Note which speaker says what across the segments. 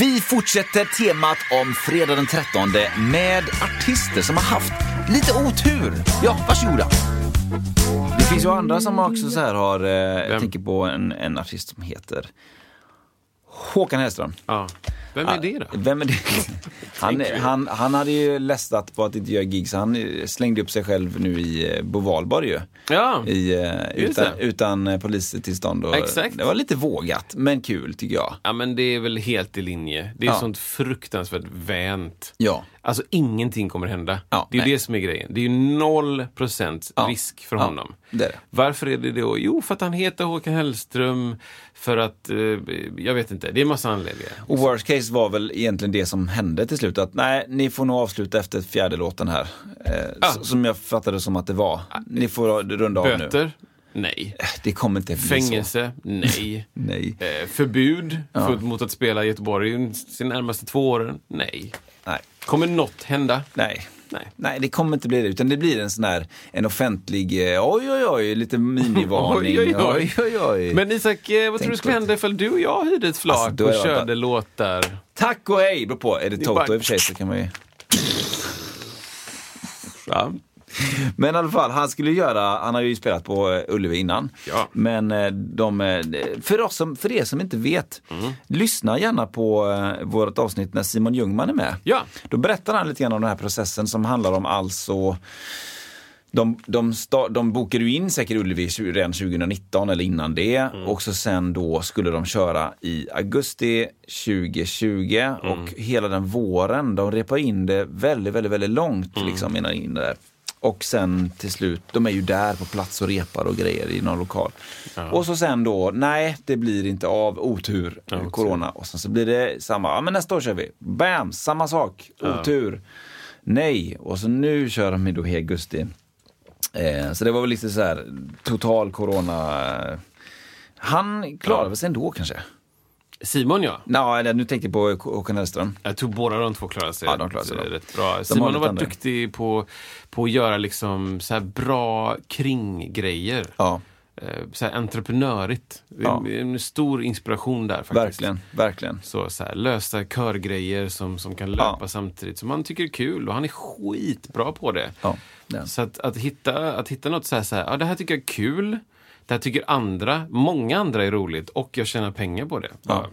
Speaker 1: Vi fortsätter temat om fredag den 13 med artister som har haft lite otur. Ja, varsågoda. Det finns ju andra som också så här har, eh, jag tänker på en, en artist som heter Håkan Hellström.
Speaker 2: Ja. Vem
Speaker 1: Ah.
Speaker 2: är det då?
Speaker 1: Vem är det? Han, han, han hade ju lästat på att inte göra gigs. Han eh, slängde upp sig själv nu i eh, Bo Wahlberg ju.
Speaker 2: Ja.
Speaker 1: I, eh,
Speaker 2: Just
Speaker 1: utan,
Speaker 2: det.
Speaker 1: utan eh, polistillstånd. Och,
Speaker 2: Exakt.
Speaker 1: Det var lite vågat, men kul tycker jag.
Speaker 2: Ja men det är väl helt i linje. Det är
Speaker 1: Ja.
Speaker 2: sånt fruktansvärt vänt.
Speaker 1: Ja.
Speaker 2: Alltså ingenting kommer hända.
Speaker 1: Ja,
Speaker 2: det är ju
Speaker 1: nej.
Speaker 2: det som är grejen. Det är ju noll procent
Speaker 1: Ja.
Speaker 2: risk för
Speaker 1: Ja,
Speaker 2: honom.
Speaker 1: det är det.
Speaker 2: Varför är det då? Jo, för att han heter Håkan Hellström. För att, eh, jag vet inte, det är en massa anledningar.
Speaker 1: Och worst case var väl egentligen det som hände till slut. Att nej, ni får nog avsluta efter fjärde låten här. Eh,
Speaker 2: Ah.
Speaker 1: s- Som jag fattade som att det var. Ni får runda av nu. Eh,
Speaker 2: Böter? Nej.
Speaker 1: Det kommer inte bli så.
Speaker 2: Fängelse? Nej.
Speaker 1: Nej.
Speaker 2: Eh, förbud för, mot att spela i Göteborg de närmaste två åren? Nej.
Speaker 1: Nej.
Speaker 2: Kommer något hända?
Speaker 1: Nej.
Speaker 2: Nej.
Speaker 1: Nej, det kommer inte bli det. Utan det blir en sån här, en offentlig, eh, oj oj oj, lite minivarning.
Speaker 2: Oj, oj, oj.
Speaker 1: oj, oj.
Speaker 2: Men Isak, eh, vad tror du
Speaker 1: Tänk
Speaker 2: skulle
Speaker 1: på
Speaker 2: hända ifall du och jag hyrde ett flak
Speaker 1: Alltså, då är
Speaker 2: och
Speaker 1: jag
Speaker 2: körde
Speaker 1: bara-
Speaker 2: låtar?
Speaker 1: Tack och hej, beror på. Är det Toto
Speaker 2: bara-
Speaker 1: i och för sig så kan man ju...
Speaker 2: Ja.
Speaker 1: Men i alla fall, han skulle göra, han har ju spelat på eh, Ullevi innan.
Speaker 2: Ja.
Speaker 1: Men eh, de, eh, för, oss som, för er som inte vet,
Speaker 2: Mm.
Speaker 1: lyssna gärna på eh, vårt avsnitt när Simon Ljungman är med.
Speaker 2: Ja.
Speaker 1: Då berättar han lite grann om den här processen som handlar om alltså de, de, sta, de bokade ju in säkert Ullevi tju- redan 2019 eller innan det och så sen då skulle de köra i augusti 2020 och hela den våren, de repar in det väldigt, väldigt, väldigt långt liksom innan in det där. Och sen till slut, de är ju där på plats och repar och grejer i någon lokal. Och så sen då, nej det blir inte av, otur, corona. Och sen så blir det samma, ja men nästa år kör vi. Bam, samma sak, otur. Nej, och så nu kör de ju då i augusti. Eh, så det var väl lite så här total corona. eh. Han klarade väl sig ändå kanske?
Speaker 2: Simon, ja.
Speaker 1: Nej, eller nu tänker jag på Hå- Håkan Hellström.
Speaker 2: Jag tror båda de två klarar sig,
Speaker 1: Ja, de klarar sig
Speaker 2: rätt,
Speaker 1: bra.
Speaker 2: rätt bra.
Speaker 1: De har
Speaker 2: Simon har
Speaker 1: lite
Speaker 2: varit
Speaker 1: andra.
Speaker 2: duktig på, på att göra liksom så här bra kringgrejer.
Speaker 1: Ja,
Speaker 2: Eh, Så här entreprenörigt.
Speaker 1: Ja.
Speaker 2: En- En stor inspiration där faktiskt.
Speaker 1: verkligen, verkligen.
Speaker 2: Så, så här, lösa körgrejer som, som kan löpa
Speaker 1: Ja.
Speaker 2: samtidigt som man tycker är kul och han är skitbra på det.
Speaker 1: Ja, ja.
Speaker 2: Så att, att, hitta, att hitta något så här, så här, ja det här tycker jag är kul, det här tycker andra, många andra är roligt och jag tjänar pengar på det. Bara,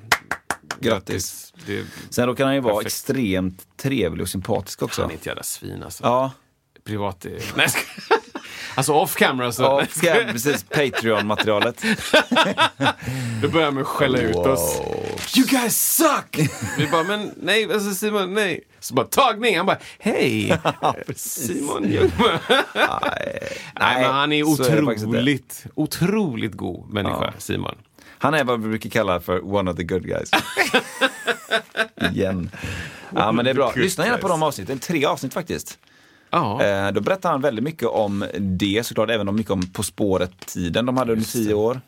Speaker 1: Grattis.
Speaker 2: Det,
Speaker 1: Sen då kan han ju vara
Speaker 2: Perfekt.
Speaker 1: extremt trevlig och sympatisk också.
Speaker 2: han är ett jävla svin alltså.
Speaker 1: Ja,
Speaker 2: Privat är... Nej, jag skojar. Alltså off camera så.
Speaker 1: ja precis. Patreon-materialet.
Speaker 2: Då börjar man skälla ut oss. You guys suck! Vi bara, men nej, alltså Simon, nej. Så bara tagning, han bara, hej! Simon Ljungman. Nej, men han är
Speaker 1: så det faktiskt inte.
Speaker 2: otroligt, otroligt god människa, Simon.
Speaker 1: Han är vad vi brukar kalla för one of the good guys. Igen. Ja, men det är bra. Lyssna gärna på de avsnitten. Tre avsnitt faktiskt.
Speaker 2: Ja,
Speaker 1: Eh, Då berättar han väldigt mycket om det såklart, även om mycket om På spåret-tiden de hade under tio år.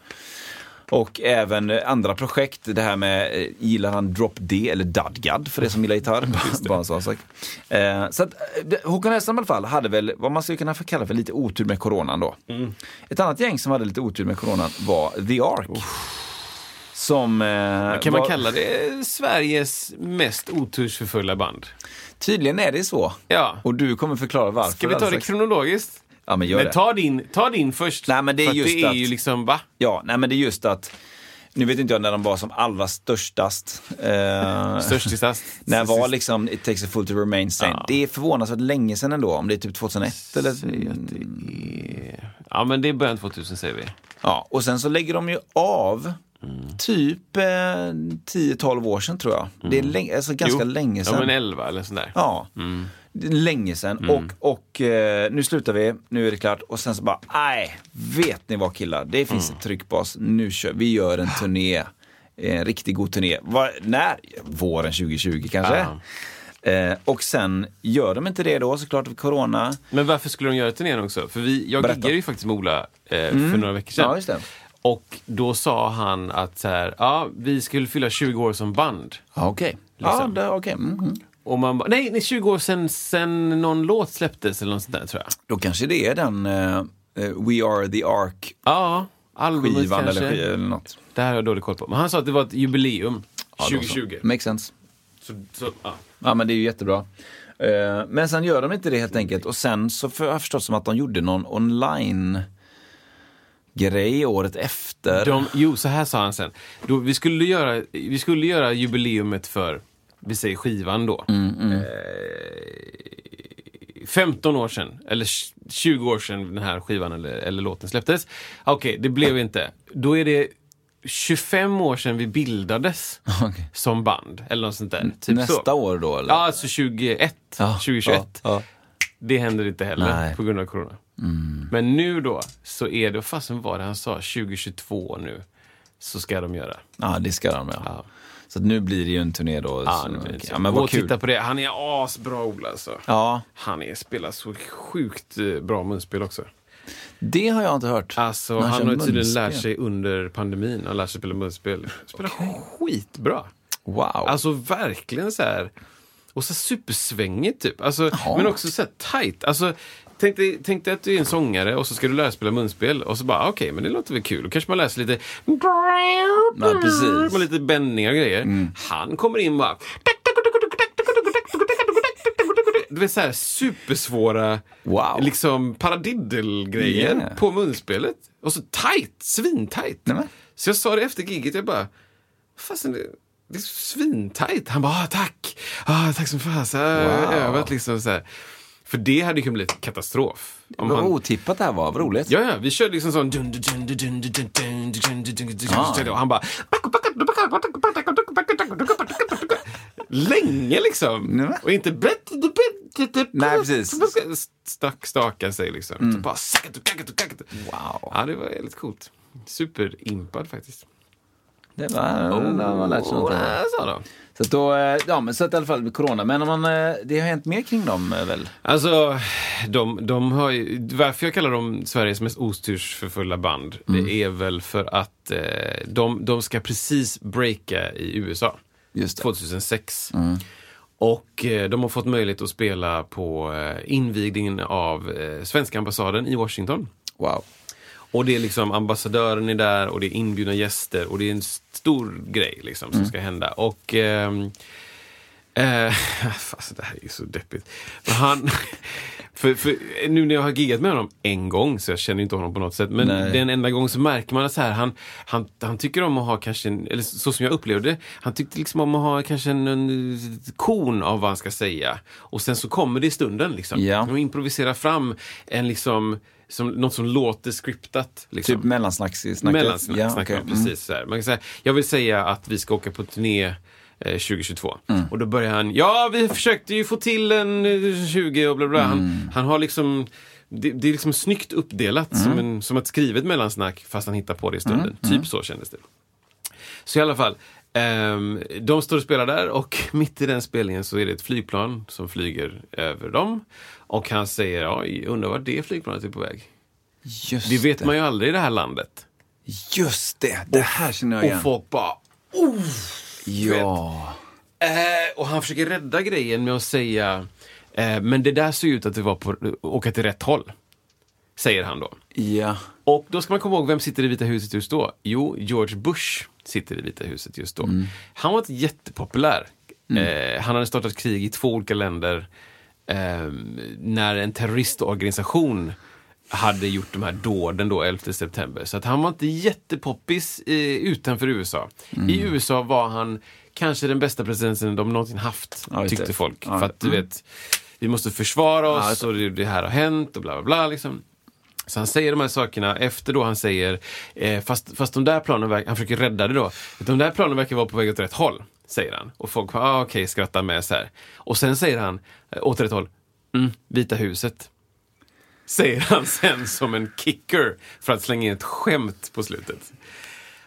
Speaker 1: Och även eh, andra projekt, det här med eh, gillar han Drop D eller Dadgad för det som gillar gitarr. Bara- Bara en sån sak. Eh, Så att eh, det- Håkan Hellström i alla fall hade väl vad man skulle kunna få kalla för lite otur med coronan då.
Speaker 2: Mm.
Speaker 1: Ett annat gäng som hade lite otur med coronan var The Ark. Som... eh,
Speaker 2: kan man
Speaker 1: var-
Speaker 2: kalla det Sveriges mest otursförfulla band?
Speaker 1: Tydligen är det så.
Speaker 2: Ja.
Speaker 1: Och du kommer förklara varför.
Speaker 2: Ska vi ta det
Speaker 1: alldeles strax.
Speaker 2: kronologiskt?
Speaker 1: Ja, men gör
Speaker 2: Men
Speaker 1: det.
Speaker 2: ta din, ta din först.
Speaker 1: Nej, men det är
Speaker 2: för att
Speaker 1: just
Speaker 2: det är
Speaker 1: att-
Speaker 2: ju liksom, va?
Speaker 1: Ja, nej men det är just att nu vet inte jag när de var som allra störstast. Eh,
Speaker 2: Störst i sast.
Speaker 1: när var liksom It takes a fool to remain sane. Det är förvånansvärt länge sedan ändå, om det är typ 2001 eller...
Speaker 2: Ja, men det är början 2000 säger vi.
Speaker 1: Ja, och sen så lägger de ju av
Speaker 2: Mm.
Speaker 1: typ eh, 10-12 år sedan tror jag. Det är länge, alltså ganska
Speaker 2: Mm. Jo.
Speaker 1: länge
Speaker 2: Ja,
Speaker 1: sedan.
Speaker 2: men 11 eller sådär.
Speaker 1: Ja. Mm. länge sedan och, och eh, nu slutar vi, nu är det klart och sen så bara, nej, vet ni vad killar, det finns ett tryck på oss, nu kör vi, gör en turné, en riktigt god turné. Va, när? Våren 2020 kanske? Eh, och sen gör de inte det då såklart, corona.
Speaker 2: Men varför skulle de göra turnén också? För vi, jag
Speaker 1: Berätta. Mm.
Speaker 2: giggade ju faktiskt med Ola eh, för några veckor sedan.
Speaker 1: Ja, just det.
Speaker 2: Och då sa han att så här, ja, vi skulle fylla 20 år som band.
Speaker 1: Ja, okej. Ja,
Speaker 2: Liksom.
Speaker 1: det- okej. Mm, mm.
Speaker 2: Och man bara, nej, nej, 20 år sen, sen någon låt släpptes eller något sånt där tror jag.
Speaker 1: Då kanske det är den eh, eh, We Are The Ark
Speaker 2: Ja, albumet
Speaker 1: skivan
Speaker 2: kanske.
Speaker 1: eller, sk- eller något.
Speaker 2: Det här har jag dålig koll på. Men han sa att det var ett jubileum.
Speaker 1: Ja, då så.
Speaker 2: 2020.
Speaker 1: Makes sense.
Speaker 2: Så, så, ja.
Speaker 1: Ja men det är ju jättebra. Eh, Men sen gör de inte det helt enkelt och sen så för, jag har förstått som att de gjorde någon online grej året efter.
Speaker 2: De, jo, så här sa han sen. Då, vi, skulle göra, vi skulle göra jubileumet för, vi säger skivan då.
Speaker 1: Mm,
Speaker 2: Eh, 15 år sedan, eller tj- 20 år sedan den här skivan eller, eller låten släpptes. Okej, det blev inte. Då är det 25 år sedan vi bildades
Speaker 1: Okej.
Speaker 2: som band. Eller något sånt där. Typ
Speaker 1: Nästa
Speaker 2: så.
Speaker 1: år då eller?
Speaker 2: Ja, alltså 21.
Speaker 1: Ja,
Speaker 2: 2021.
Speaker 1: ja, ja.
Speaker 2: Det händer inte heller
Speaker 1: Nej. Mm.
Speaker 2: på grund av corona. Men nu då, så är det, vad fasen var det han sa, 2022 nu, så ska de göra.
Speaker 1: Ja, det ska de ja. Så att nu blir det ju en turné då.
Speaker 2: Ja,
Speaker 1: Så-
Speaker 2: nu blir det
Speaker 1: okej.
Speaker 2: så.
Speaker 1: ja men
Speaker 2: Gå
Speaker 1: vad
Speaker 2: och
Speaker 1: kul.
Speaker 2: titta på det. Han är asbra Ola alltså.
Speaker 1: Ja,
Speaker 2: Han är, spelar så sjukt eh, bra munspel också.
Speaker 1: det har jag inte hört.
Speaker 2: Alltså,
Speaker 1: Men
Speaker 2: han,
Speaker 1: kör
Speaker 2: har ju tydligen lärt
Speaker 1: munspel.
Speaker 2: sig under pandemin, han lärt sig spela munspel. Spelar skitbra.
Speaker 1: Wow.
Speaker 2: Alltså verkligen så här. Och så supersvängigt typ. Alltså, men också så här tight. Alltså, tänk, dig, tänk dig att du är en sångare och så ska du lära dig spela munspel. Och så bara, "Ah, okej, men det låter väl kul. Då kanske man läser lite...
Speaker 1: Ja, precis. Mm.
Speaker 2: Med lite bändningar och grejer. Han kommer in bara... Det vill säga supersvåra
Speaker 1: Wow.
Speaker 2: liksom paradiddelgrejer
Speaker 1: Yeah.
Speaker 2: på munspelet. Och så tight, svintajt.
Speaker 1: Nej, men.
Speaker 2: Så jag sa det efter giget, jag bara, fasen det, det är svintajt. Han bara, ah, tack, ah, tack som fasen, jag har
Speaker 1: Wow.
Speaker 2: övat liksom så här. För det hade ju kunnat bli katastrof. Om
Speaker 1: Vad
Speaker 2: han,
Speaker 1: otippat det här var, vad roligt.
Speaker 2: ja, ja, vi körde liksom sån... dun, dun, dun, dun, dun, dun, dun, dun, dun, dun, dun,
Speaker 1: Ah,
Speaker 2: dun, Och han bara... Länge liksom.
Speaker 1: men.
Speaker 2: Och inte...
Speaker 1: Nej, precis. Mm.
Speaker 2: Stack, staka sig liksom. Så bara...
Speaker 1: Wow.
Speaker 2: Ja, det var väldigt coolt. Superimpad faktiskt.
Speaker 1: Det var, det har man lärt sig något av.
Speaker 2: Ja, sa de.
Speaker 1: Så att då, eh, ja men så att i alla fall med corona. Men om man, eh, det har hänt mer kring dem eh, väl?
Speaker 2: Alltså, de, de har ju, varför jag kallar dem Sveriges mest ostyrsförfulla band,
Speaker 1: Mm.
Speaker 2: det är väl för att eh, de, de ska precis breaka i USA.
Speaker 1: Just det. Mm.
Speaker 2: 2006. Och eh, de har fått möjlighet att spela på eh, invigningen av eh, svenska ambassaden i Washington.
Speaker 1: Wow.
Speaker 2: Och det är liksom ambassadören är där och det är inbjudna gäster och det är en stor grej liksom
Speaker 1: Mm.
Speaker 2: som ska hända. Och... ehm, Eh, fast det här är ju så deppigt. Men han, för, för nu när jag har giggat med honom en gång, så jag känner ju inte honom på något sätt, men
Speaker 1: Nej.
Speaker 2: den enda gången så märker man att så här, han, han, han tycker om att ha kanske, en, eller så som jag upplevde det, han tyckte liksom om att ha kanske en, en kon av vad han ska säga. Och sen så kommer det i stunden liksom.
Speaker 1: Ja.
Speaker 2: De improviserar fram en liksom, som, något som låter scriptat. Liksom.
Speaker 1: Typ mellansnacksnacket?
Speaker 2: Mellansnack,
Speaker 1: Ja,
Speaker 2: snackar
Speaker 1: okej. Mm.
Speaker 2: man precis så här. Man kan säga, jag vill säga att vi ska åka på turné eh, 2022.
Speaker 1: Mm.
Speaker 2: Och då börjar han, ja vi försökte ju få till en eh, 20 och bla bla.
Speaker 1: Mm.
Speaker 2: Han, han har liksom, det, det är liksom snyggt uppdelat som,
Speaker 1: Mm.
Speaker 2: en, som ett skrivet mellansnack fast han hittar på det i stunden. Typ så kändes det. Så i alla fall, ehm, de står och spelar där och mitt i den spelningen så är det ett flygplan som flyger över dem. Och han säger, oj, undrar vart det flygplanet är på väg.
Speaker 1: Just
Speaker 2: Det vet
Speaker 1: det.
Speaker 2: man ju aldrig i det här landet.
Speaker 1: Just det, det här känner jag igen.
Speaker 2: Och folk bara
Speaker 1: ja.
Speaker 2: Eh, och han försöker rädda grejen med att säga eh, Men det där såg ut att det var på åka till rätt håll. Säger han då.
Speaker 1: ja.
Speaker 2: Och då ska man komma ihåg, vem sitter i Vita huset just då? Jo, George Bush sitter i Vita huset just då.
Speaker 1: Mm.
Speaker 2: Han var inte jättepopulär. Eh, han hade startat krig i två olika länder eh, när en terroristorganisation hade gjort de här dåden då, 11 september. Så att han var inte jättepoppis eh, utanför USA.
Speaker 1: Mm.
Speaker 2: I USA var han kanske den bästa presidenten de någonsin haft,
Speaker 1: Ja, just det.
Speaker 2: tyckte folk.
Speaker 1: Ja, mm.
Speaker 2: För att du vet, vi måste försvara
Speaker 1: Ja,
Speaker 2: oss
Speaker 1: just det.
Speaker 2: och det, det här har hänt och bla bla bla. Liksom. Så han säger de här sakerna efter då han säger, eh, fast, fast de där planen, verk- han försöker rädda det då, att de där planen verkar vara på väg åt rätt håll, säger han. Och folk bara, ah, okej, skrattar med så här. Och sen säger han, eh, åt rätt håll, Vita huset. Säger han sen som en kicker för att slänga in ett skämt på slutet.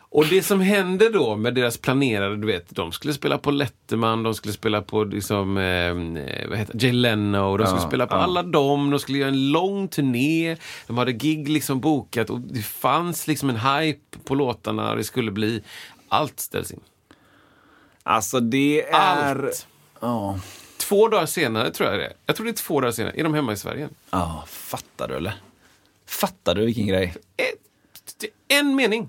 Speaker 2: Och det som hände då med deras planerade, du vet, de skulle spela på Letterman, de skulle spela på liksom, eh, vad heter det? Jay Leno, de skulle
Speaker 1: Ja,
Speaker 2: spela på
Speaker 1: ja.
Speaker 2: alla dem, de skulle göra en lång turné, de hade gig liksom bokat och det fanns liksom en hype på låtarna, det skulle bli, allt ställs in.
Speaker 1: Alltså det är...
Speaker 2: Allt.
Speaker 1: Ja.
Speaker 2: Två dagar senare tror jag det är. Jag tror det är två dagar senare. Är de hemma i Sverige?
Speaker 1: Ja, fattar du eller? Fattar du vilken grej?
Speaker 2: Ett, Eh, en mening.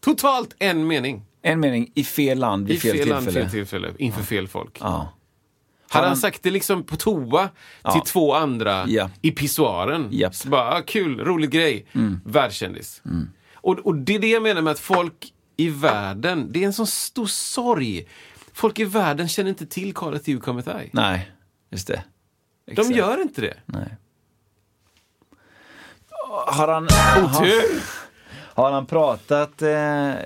Speaker 2: Totalt en mening.
Speaker 1: En mening, i fel land vid
Speaker 2: I
Speaker 1: fel,
Speaker 2: fel land,
Speaker 1: tillfälle.
Speaker 2: fel tillfälle. Inför fel folk.
Speaker 1: Ja.
Speaker 2: Hade han sagt det liksom på toa till två andra
Speaker 1: Ja.
Speaker 2: i pissoaren.
Speaker 1: Japp. Mm.
Speaker 2: Så bara, ah, kul, rolig grej. Världskändis. Och, och det är det jag menar med att folk i världen, det är en sån stor sorg. Folk i världen känner inte till Karla till Kometai.
Speaker 1: Nej, just det.
Speaker 2: De gör inte det.
Speaker 1: Nej. Har han,
Speaker 2: Otur!
Speaker 1: har han pratat... Eh,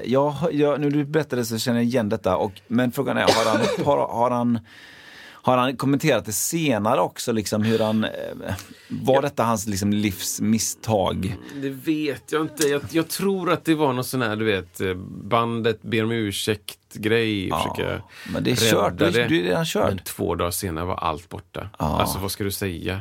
Speaker 1: jag, jag, nu du berättade så känner jag igen detta. Och, men frågan är, har han, har, har han, har han kommenterat det senare också? Liksom, hur han, eh, var detta hans liksom, livs misstag?
Speaker 2: Det vet jag inte. Jag, jag tror att det var någon sån här, du vet, eh, bandet ber om ursäkt-grej. försöka
Speaker 1: men det är
Speaker 2: rädda
Speaker 1: kört. Du är- du är redan körd.
Speaker 2: Men två dagar senare var allt borta. Alltså, vad ska du säga?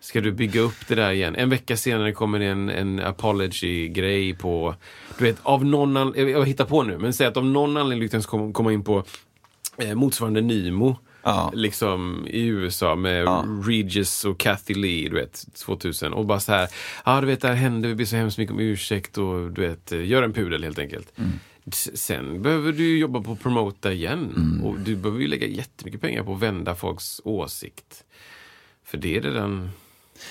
Speaker 2: Ska du bygga upp det där igen? En vecka senare kommer det en, en apology-grej på... Du vet, av någon anledning... Jag hittar på nu, men säg att av någon anledning lyckades kom- komma in på eh, motsvarande Nymo.
Speaker 1: Ja.
Speaker 2: Liksom i USA med Regis och Kathy Lee, du vet, 2000. Och bara så här, ja ah, du vet det här hände, vi ber så hemskt mycket om ursäkt och du vet, eh, gör en pudel helt enkelt. S- Sen behöver du ju jobba på att promota igen. Och du behöver ju lägga jättemycket pengar på att vända folks åsikt. För det är det den...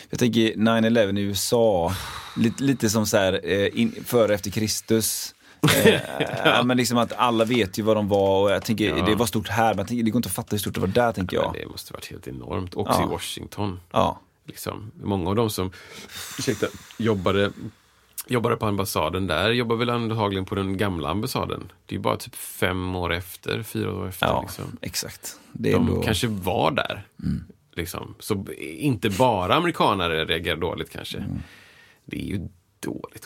Speaker 1: Jag tänker 9-11 i USA, lite, lite som så här, eh, in, före och efter Kristus. Eh, ja. men liksom att alla vet ju vad de var och jag tänker, det var stort här, men jag tänker, det går inte att fatta hur stort det var där tänker jag.
Speaker 2: Men Det måste varit helt enormt. Också i Washington.
Speaker 1: Ja.
Speaker 2: Liksom. Många av dem som ursäkta, jobbade, jobbade på ambassaden där jobbar väl antagligen på den gamla ambassaden. Det är ju bara typ fem år efter, fyra år efter.
Speaker 1: Ja,
Speaker 2: Liksom.
Speaker 1: exakt. Det är
Speaker 2: De
Speaker 1: ändå... Mm.
Speaker 2: kanske var där. Liksom. Så inte bara amerikanare reagerar dåligt kanske.
Speaker 1: Mm.
Speaker 2: Det är ju dåligt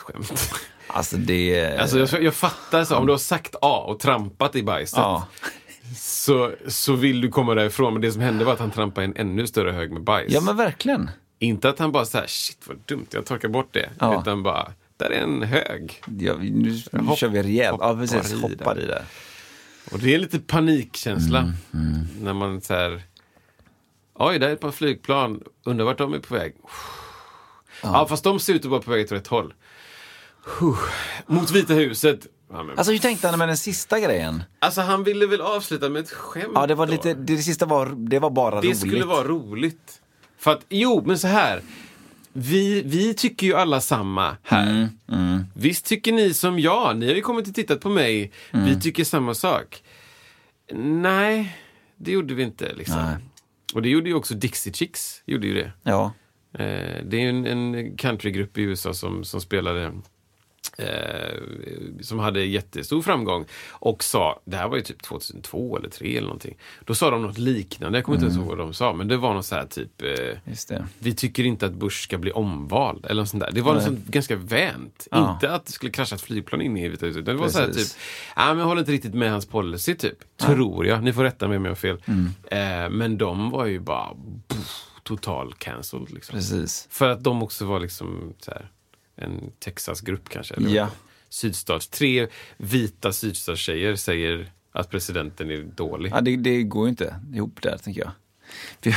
Speaker 2: skämt.
Speaker 1: Alltså det...
Speaker 2: Alltså jag, jag fattar så, om du har sagt A och trampat i bajset
Speaker 1: ja.
Speaker 2: så, så vill du komma därifrån. Men det som hände var att han trampade i en ännu större hög med bajs.
Speaker 1: ja, men verkligen.
Speaker 2: Inte att han bara så här, shit vad dumt, jag torkar bort det.
Speaker 1: Ja.
Speaker 2: Utan bara, där är en hög.
Speaker 1: Ja, vi- nu nu
Speaker 2: Hopp-
Speaker 1: kör vi rejält. Ja,
Speaker 2: hoppar i
Speaker 1: precis.
Speaker 2: den.
Speaker 1: Hoppar i det.
Speaker 2: Och det är lite panikkänsla.
Speaker 1: Mm,
Speaker 2: När man så här, oj, där är ett par flygplan, undrar vart de är på väg. Ja, fast de ser ut att vara på väg åt rätt håll. Mot Vita huset. Ja, men,
Speaker 1: Alltså hur tänkte han med den sista grejen?
Speaker 2: alltså han ville väl avsluta med ett skämt
Speaker 1: Ja, det var
Speaker 2: då.
Speaker 1: lite, det, sista var, det var bara
Speaker 2: Det
Speaker 1: roligt.
Speaker 2: skulle vara roligt. För att, jo, men så här. Vi, vi tycker ju alla samma här.
Speaker 1: Mm,
Speaker 2: Visst tycker ni som jag? Ni har ju kommit och tittat på mig.
Speaker 1: Mm.
Speaker 2: Vi tycker samma sak. Nej, det gjorde vi inte. Liksom.
Speaker 1: Nej.
Speaker 2: Och det gjorde ju också Dixie Chicks. Gjorde ju det.
Speaker 1: Ja.
Speaker 2: Eh, det är ju en, en countrygrupp i USA som, som spelade eh, som hade jättestor framgång och sa, det här var ju typ 2002 eller 2003 eller någonting. Då sa de något liknande, jag kommer inte ens ihåg vad de sa, men det var något så här typ eh,
Speaker 1: Just Mm. det.
Speaker 2: vi tycker inte att Bush ska bli omvald. Eller något sånt där. Det var något sånt ganska vänt.
Speaker 1: Ja.
Speaker 2: Inte att det skulle krascha ett flygplan in i Vita huset. utan Det var så här typ,
Speaker 1: Precis.
Speaker 2: ah, men jag håller inte riktigt med hans policy typ. Tror jag. Ni får rätta mig om jag har fel.
Speaker 1: Mm.
Speaker 2: Eh, men de var ju bara pff, total cancelled. Liksom.
Speaker 1: Precis.
Speaker 2: För att de också var liksom så här, en Texas-grupp kanske. Eller
Speaker 1: Ja.
Speaker 2: vad det är. Sydstats. Tre vita sydstatstjejer säger att presidenten är dålig.
Speaker 1: Ja, det, det går ju inte ihop där, tänker jag. För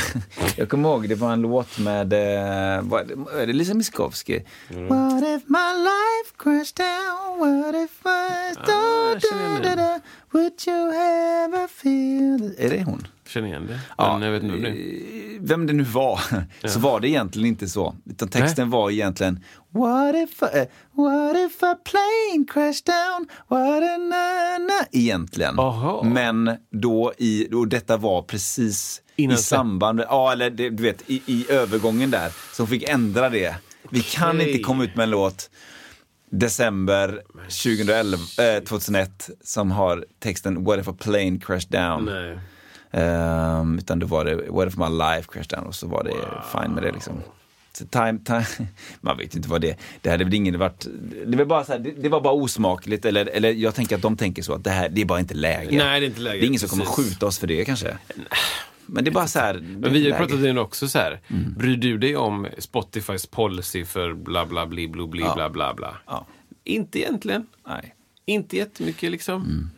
Speaker 1: jag, jag kommer ihåg, det var en låt med, eh, vad, är det Lisa Miskovsky?
Speaker 2: Mm.
Speaker 1: What if my life crashed down? What if I... Da,
Speaker 2: Ah, jag känner igen
Speaker 1: da, da, da, would you ever feel... Är det hon?
Speaker 2: Känner igen det?
Speaker 1: Ja,
Speaker 2: Men jag vet inte om det.
Speaker 1: eh, Vem det nu var, så var det egentligen inte så. Utan texten var egentligen What if, I, eh, what if a plane crashed down? What a na, na. Egentligen.
Speaker 2: Aha.
Speaker 1: Men då i, och detta var precis
Speaker 2: Innan
Speaker 1: i
Speaker 2: sen.
Speaker 1: samband med, ja eller det, du vet i, i övergången där. Så hon fick ändra det. Vi kan
Speaker 2: Okej.
Speaker 1: inte komma ut med en låt december 2011, eh, 2001 som har texten What if a plane crashed down.
Speaker 2: Nej.
Speaker 1: Ehm, utan då var det What if my life crashed down och så var det fine med det liksom. Så Time, time, man vet inte vad det Det hade väl ingen varit, det var bara, så här, det, det var bara osmakligt eller, eller jag tänker att de tänker så att det här, det är bara inte läge.
Speaker 2: Nej, det är inte läge,
Speaker 1: Det är ingen som kommer
Speaker 2: precis.
Speaker 1: skjuta oss för det kanske. Men det är bara så här. det är
Speaker 2: Men vi
Speaker 1: inte
Speaker 2: har ju
Speaker 1: läge.
Speaker 2: pratat om det också så här.
Speaker 1: Mm.
Speaker 2: Bryr du dig om Spotifys policy för bla bla bli blo bli bla bla bla?
Speaker 1: Ja.
Speaker 2: Inte egentligen.
Speaker 1: Nej.
Speaker 2: Inte jättemycket liksom.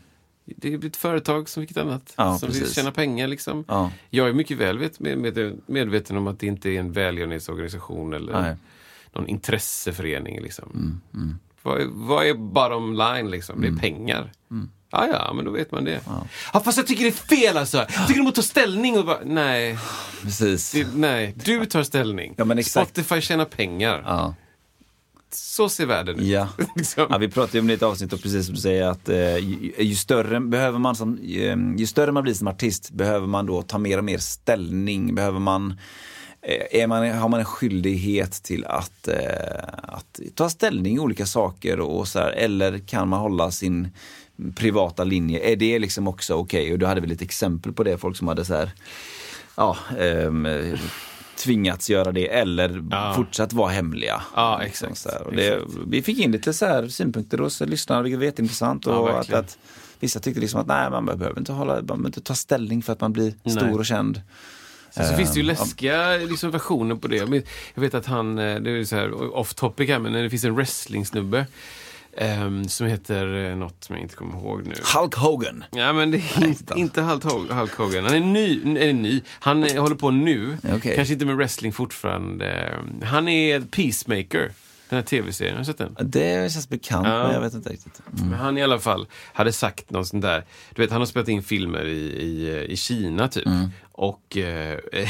Speaker 2: Det är ett företag som vilket annat.
Speaker 1: Mm. Ja,
Speaker 2: som vill
Speaker 1: precis.
Speaker 2: tjäna pengar liksom.
Speaker 1: Ja.
Speaker 2: Jag är mycket väl vet, med, med, medveten om att det inte är en välgörenhetsorganisation eller
Speaker 1: Nej. Mm,
Speaker 2: någon intresseförening liksom. Vad, är- vad är bottom line liksom? Det är pengar.
Speaker 1: Mm.
Speaker 2: Ja, ja, men då vet man det. Ja. fast jag tycker det är fel alltså. Jag tycker de borde ta ställning och bara, nej.
Speaker 1: Precis.
Speaker 2: Det, nej, du tar ställning.
Speaker 1: Ja, men exakt.
Speaker 2: Spotify tjänar pengar.
Speaker 1: Ja.
Speaker 2: Så ser världen ut.
Speaker 1: Ja.
Speaker 2: liksom.
Speaker 1: ja, vi pratade ju om det i ett avsnitt och precis som du säger att eh, ju, ju, större behöver man som, eh, ju, ju större man blir som artist behöver man då ta mer och mer ställning. Behöver man, eh, är man, har man en skyldighet till att, eh, att ta ställning i olika saker och så här, eller kan man hålla sin privata linje? Är det liksom också okej? Och du hade väl ett exempel på det, folk som hade så här, ja, ehm, eh, tvingats göra det eller fortsatt vara hemliga.
Speaker 2: Ja, exakt.
Speaker 1: Så här. Och det, vi fick in lite så här synpunkter hos lyssnarna, vilket var jätteintressant. Och att,
Speaker 2: verkligen.
Speaker 1: att, vissa tyckte liksom att nej, man behöver inte, hålla, man behöver inte ta ställning för att man blir stor och känd.
Speaker 2: Sen så finns det ju
Speaker 1: Ehm,
Speaker 2: läskiga liksom, versioner på det. Jag men- jag vet att han, eh, det är ju så här off topic här, men det finns en wrestlingsnubbe ehm, som heter eh, något som jag inte kommer ihåg nu.
Speaker 1: Hulk Hogan.
Speaker 2: Ja, men det är inte, inte Hulk Hog- Hulk Hogan. Han är ny. Är ny. Han eh, håller på nu.
Speaker 1: Okej.
Speaker 2: Kanske inte med wrestling fortfarande. Han är peacemaker. Den här tv-serien, har du sett den?
Speaker 1: Det känns bekant,
Speaker 2: Ja.
Speaker 1: men jag vet inte riktigt.
Speaker 2: Men han i alla fall hade sagt någon sån där, du vet han har spelat in filmer i, i, i Kina typ. Och eh,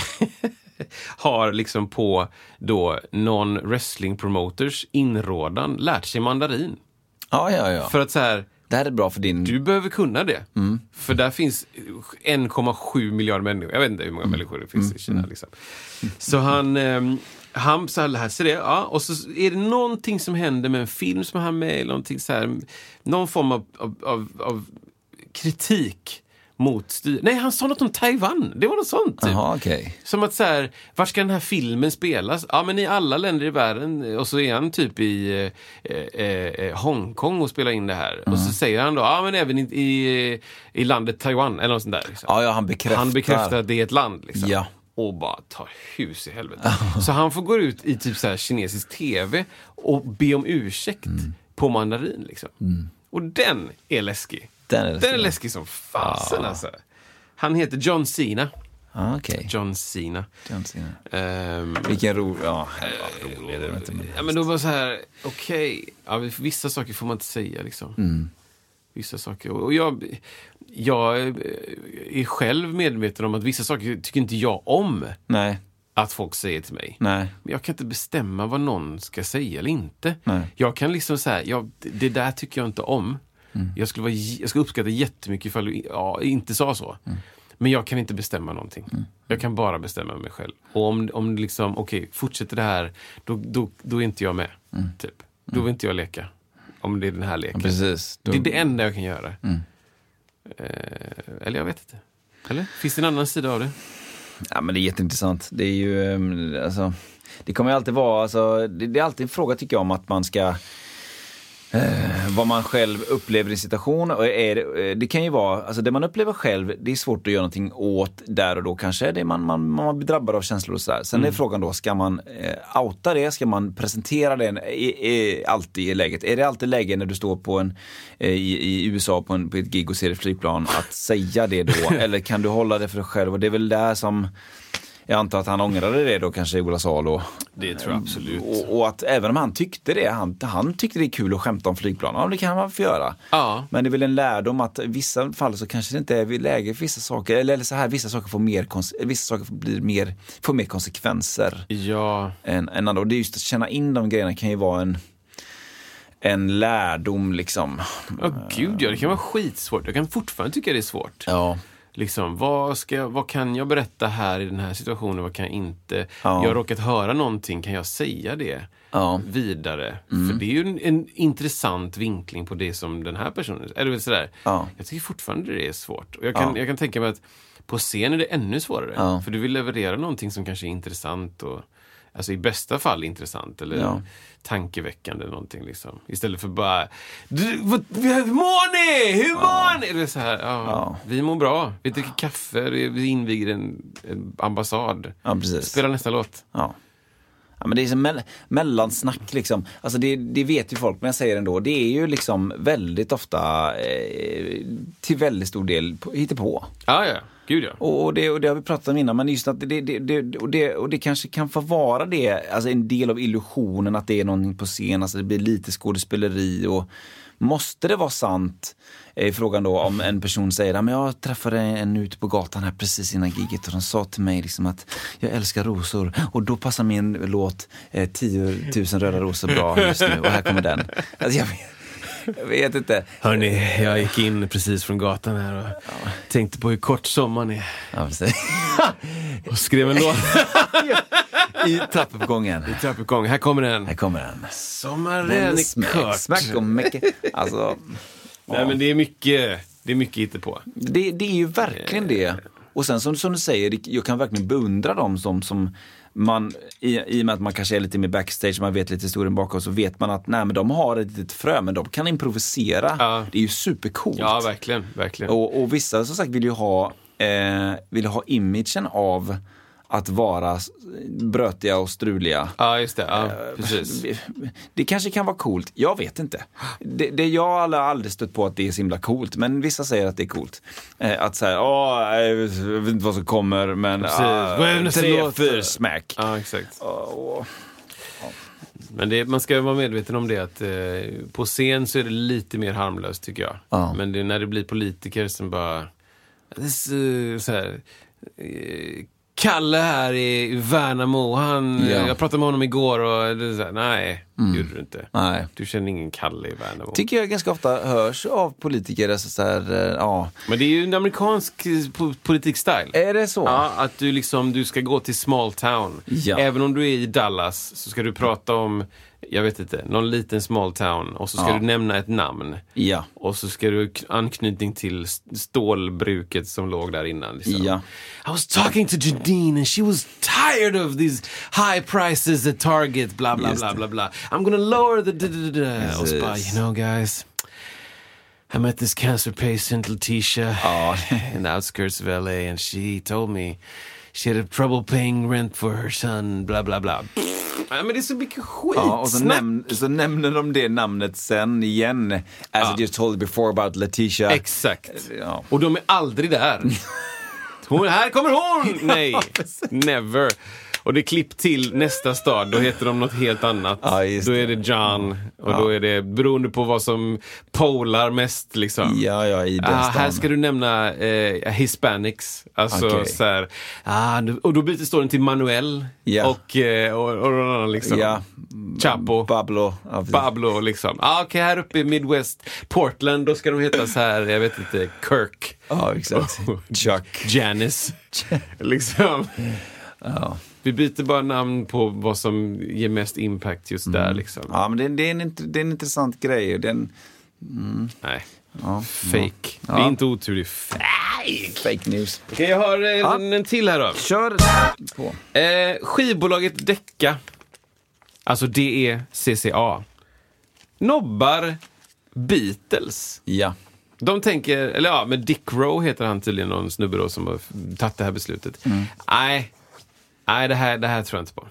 Speaker 2: har liksom på då någon wrestling promoters inrådan lärt sig mandarin.
Speaker 1: Ja, ja, ja.
Speaker 2: För att så här,
Speaker 1: det här är bra för din...
Speaker 2: du behöver kunna det. För där finns 1,7 miljarder människor. Jag vet inte hur många människor det finns i Kina. Liksom. Så han, ehm, han så här lär sig det. Ja, och så är det någonting som händer med en film som han är med i. Någonting så här, någon form av, av, av, av kritik mot styr. Nej, han sa något om Taiwan. Det var något sånt. Typ.
Speaker 1: Jaha, okej.
Speaker 2: Som att så här, var ska den här filmen spelas? Ja, men i alla länder i världen. Och så är han typ i eh, eh, eh, Hongkong och spelar in det här. Och
Speaker 1: Mm.
Speaker 2: så säger han då, ja men även i, i, i landet Taiwan eller något sånt där. Liksom.
Speaker 1: Ja, ja, han bekräftar.
Speaker 2: Han bekräftar att det är ett land. Liksom.
Speaker 1: Ja.
Speaker 2: Och bara tar hus i helvete. så han får gå ut i typ så här kinesisk TV och be om ursäkt
Speaker 1: Mm.
Speaker 2: på mandarin. Liksom. Och den är läskig.
Speaker 1: Den är läskig. Ah.
Speaker 2: Den är läskig som fasen alltså. Han heter John Cena.
Speaker 1: Ja, okej.
Speaker 2: John Cena.
Speaker 1: John Cena.
Speaker 2: Ehm,
Speaker 1: Vilken rolig... Ja, ja, rolig är det inte, men-
Speaker 2: ja, men då var det så här, okej, ja, vi- vissa saker får man inte säga liksom. Vissa saker. Och och jag, jag eh, är själv medveten om att vissa saker tycker inte jag om
Speaker 1: Nej,
Speaker 2: att folk säger till mig.
Speaker 1: nej.
Speaker 2: Men jag kan inte bestämma vad någon ska säga eller inte.
Speaker 1: Nej.
Speaker 2: Jag kan liksom säga, ja, det- det där tycker jag inte om.
Speaker 1: Mm.
Speaker 2: Jag, skulle vara, j- jag skulle uppskatta jättemycket ifall du i- ja, inte sa så.
Speaker 1: Mm.
Speaker 2: Men jag kan inte bestämma någonting. Jag kan bara bestämma mig själv. Och om, om det liksom, okej, fortsätter det här, då, då, då är inte jag med. Typ. Då vill inte jag leka. Om det är den här leken.
Speaker 1: Mm. Precis. Mm.
Speaker 2: Det är det enda jag kan göra. Eh, eller jag vet inte. Eller? Finns det en annan sida av det?
Speaker 1: Ja, men det är jätteintressant. Det är ju, ehm, alltså, det kommer ju alltid vara, alltså, det, det är alltid en fråga tycker jag om att man ska eh, vad man själv upplever i situation. Och är, det- eh, det kan ju vara, alltså det man upplever själv, det är svårt att göra någonting åt där och då kanske. Det är man, man, man blir drabbad av känslor och sådär. Sen är frågan då, ska man eh, outa det? Ska man presentera det i, i, alltid i läget? Är det alltid läge när du står på en, eh, i, i USA på, en, på ett gig och ser ett flygplan att säga det då? Eller kan du hålla det för dig själv? Och det är väl där som jag antar att han ångrade det då kanske i Ola Salo.
Speaker 2: Det tror jag absolut.
Speaker 1: Och, och att även om han tyckte det, han, han tyckte det är kul att skämta om flygplan. Ja, det kan man få göra.
Speaker 2: Ja.
Speaker 1: Men det är väl en lärdom att i vissa fall så kanske det inte är vid läge för vissa saker. Eller, eller så här, vissa saker får mer, kons- vissa saker får, blir mer, får mer konsekvenser
Speaker 2: Ja.
Speaker 1: än, än andra. Och det är just att känna in de grejerna kan ju vara en, en lärdom liksom.
Speaker 2: Ja, gud ja. Det kan vara skitsvårt. Jag kan fortfarande tycka det är svårt.
Speaker 1: Ja.
Speaker 2: Liksom, vad, ska, jag- vad kan jag berätta här i den här situationen? Vad kan jag inte?
Speaker 1: Ja.
Speaker 2: Jag har råkat höra någonting. Kan jag säga det
Speaker 1: Ja. Mm.
Speaker 2: vidare? För det är ju en, en intressant vinkling på det som den här personen... Eller sådär.
Speaker 1: Ja.
Speaker 2: Jag tycker fortfarande det är svårt. Och jag, kan,
Speaker 1: Ja.
Speaker 2: jag kan tänka mig att På scen är det ännu svårare.
Speaker 1: Ja.
Speaker 2: För du vill leverera någonting som kanske är intressant och Alltså i bästa fall intressant eller
Speaker 1: Ja.
Speaker 2: tankeväckande eller någonting liksom. Istället för bara du, vad, hur mår ni? Hur mår ni? Det är så här, ja,
Speaker 1: Ja.
Speaker 2: Vi mår bra. Vi dricker kaffe. Vi inviger en, en ambassad.
Speaker 1: Ja, precis.
Speaker 2: Spela nästa låt.
Speaker 1: Ja. Ja, men det är som mell- mellansnack liksom. Alltså det, det vet ju folk, men jag säger det ändå. Det är ju liksom väldigt ofta, eh, till väldigt stor del, på- hittepå.
Speaker 2: Ja, ja. Gud ja.
Speaker 1: Och, och, det, och det har vi pratat om innan, men just att det, det, det, och det, och det kanske kan få vara det, alltså en del av illusionen att det är någonting på scen, alltså det blir lite skådespeleri och måste det vara sant? Är frågan då om en person säger att jag träffade en ute på gatan här precis innan giget och de sa till mig liksom att jag älskar rosor och då passar min låt eh, 10 000 röda rosor bra just nu och här kommer den. Alltså jag, vet, jag vet inte.
Speaker 2: Hörni, jag gick in precis från gatan här och tänkte på hur kort sommaren är.
Speaker 1: Ja, precis.
Speaker 2: Och skrev en låt
Speaker 1: I trappuppgången.
Speaker 2: i trappuppgång. Här kommer den.
Speaker 1: Här kommer den.
Speaker 2: Sommaren är kort.
Speaker 1: Smack och mecke. Alltså,
Speaker 2: Nej, men det är mycket, det är mycket hittepå.
Speaker 1: det, det är ju verkligen
Speaker 2: Eh.
Speaker 1: det. Och sen som, som du säger, det- jag kan verkligen beundra dem som, som man, i, i och med att man kanske är lite mer backstage, man vet lite historien bakom, så vet man att nej men de har ett litet frö, men de kan improvisera.
Speaker 2: Ja.
Speaker 1: Det är ju supercoolt.
Speaker 2: Ja, verkligen. verkligen.
Speaker 1: Och, och vissa som sagt vill ju ha, eh, vill ha imagen av att vara s- brötiga och struliga.
Speaker 2: Ja, just det. Ja, precis.
Speaker 1: Eh, Det kanske kan vara coolt, jag vet inte. Det, det jag har alla- aldrig stött på att det är så himla coolt, men vissa säger att det är coolt. Eh, att säga, åh, jag vet inte vad som kommer, men
Speaker 2: Precis. Vad är det
Speaker 1: ah,
Speaker 2: nästa
Speaker 1: tre,
Speaker 2: låt?
Speaker 1: fyra smack.
Speaker 2: Ja, exakt.
Speaker 1: Åh.
Speaker 2: Men det, man ska vara medveten om det att eh, på scen så är det lite mer harmlöst tycker jag.
Speaker 1: Ja.
Speaker 2: Men det är när det blir politiker som bara... This, eh, så här, eh, Kalle här i Värnamo, han,
Speaker 1: Ja. Mm.
Speaker 2: jag pratade med honom igår och det är så här, nej, det gjorde du inte.
Speaker 1: Nej.
Speaker 2: Du känner ingen Kalle i Värnamo.
Speaker 1: Tycker jag ganska ofta hörs av politiker, alltså så här, eh, ja.
Speaker 2: Men det är ju en amerikansk eh, po- politik-style.
Speaker 1: Är det så?
Speaker 2: Ja, att du liksom, du ska gå till small town.
Speaker 1: Ja.
Speaker 2: Även om du är i Dallas så ska du prata om, jag vet inte, någon liten small town och så ska
Speaker 1: Ja.
Speaker 2: du nämna ett namn.
Speaker 1: Ja.
Speaker 2: Och så ska du k- anknytning till st- stålbruket som låg där innan. Liksom.
Speaker 1: Ja.
Speaker 2: I was talking to Jadine and she was tired of these high prices at Target, bla bla
Speaker 1: Just
Speaker 2: bla
Speaker 1: det.
Speaker 2: bla bla. I'm gonna lower the da da da da. Och så bara, you
Speaker 1: Precis.
Speaker 2: know guys. I met this cancer patient, Letitia,
Speaker 1: Ja.
Speaker 2: in the outskirts of LA, and she told me she had trouble paying rent for her son, bla bla bla. Ja, men det är så mycket skit.
Speaker 1: Ja, och så, näm- så nämner de det namnet sen igen. As I just told you before about Letitia.
Speaker 2: Exakt.
Speaker 1: Ja.
Speaker 2: Och de är aldrig där. Hon, här kommer hon! Nej, never. Och det är klipp till nästa stad, då heter de något helt annat.
Speaker 1: Ja, just
Speaker 2: då är det John och då är det beroende på vad som polar mest liksom.
Speaker 1: Ja, ja, i den
Speaker 2: Ah,
Speaker 1: stan.
Speaker 2: här ska du nämna eh, hispanics. Alltså
Speaker 1: Okej.
Speaker 2: så här, ah, du- och då byter storyn till Manuel
Speaker 1: Ja.
Speaker 2: och, eh, och, och någon annan liksom.
Speaker 1: Ja.
Speaker 2: Chapo.
Speaker 1: Pablo. Ja, precis.
Speaker 2: Pablo liksom. Ah, Okej, här uppe i Midwest, Portland, då ska de heta så här, jag vet inte, Kirk.
Speaker 1: Ja, exakt. Chuck.
Speaker 2: Janice. liksom. Vi byter bara namn på vad som ger mest impact just där liksom.
Speaker 1: Mm. Ja, men det, det, är en, int- det är en intressant grej. och Den,
Speaker 2: Nej.
Speaker 1: ja.
Speaker 2: Fake. Det är inte otur, det är fake.
Speaker 1: Fake news.
Speaker 2: Okej, jag har eh, en, en till här då.
Speaker 1: Kör på.
Speaker 2: Eh, skivbolaget Decca, alltså D-E-C-C-A, nobbar Beatles.
Speaker 1: Ja.
Speaker 2: De tänker, eller ja, men Dick Rowe heter han tydligen, någon snubbe då som har tagit det här beslutet.
Speaker 1: Mm.
Speaker 2: Nej, nej det, här, det här tror jag inte på.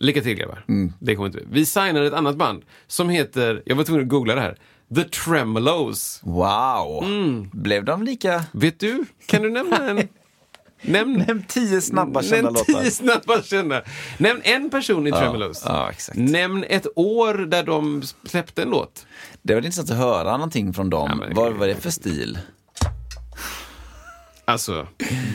Speaker 2: Lycka till grabbar.
Speaker 1: Mm.
Speaker 2: Det kommer inte Vi signade ett annat band som heter, jag var tvungen att googla det här, The Tremolos.
Speaker 1: Wow.
Speaker 2: Mm.
Speaker 1: Blev de lika?
Speaker 2: Vet du, kan du nämna en? Nämn,
Speaker 1: Nämn tio snabba kända
Speaker 2: Nämn
Speaker 1: låtar.
Speaker 2: tio snabba kända. Nämn en person i Tremolos.
Speaker 1: ja, exakt.
Speaker 2: Nämn ett år där de släppte en låt.
Speaker 1: Det var intressant att höra någonting från dem.
Speaker 2: Ja, men-
Speaker 1: Vad var det för stil?
Speaker 2: Alltså,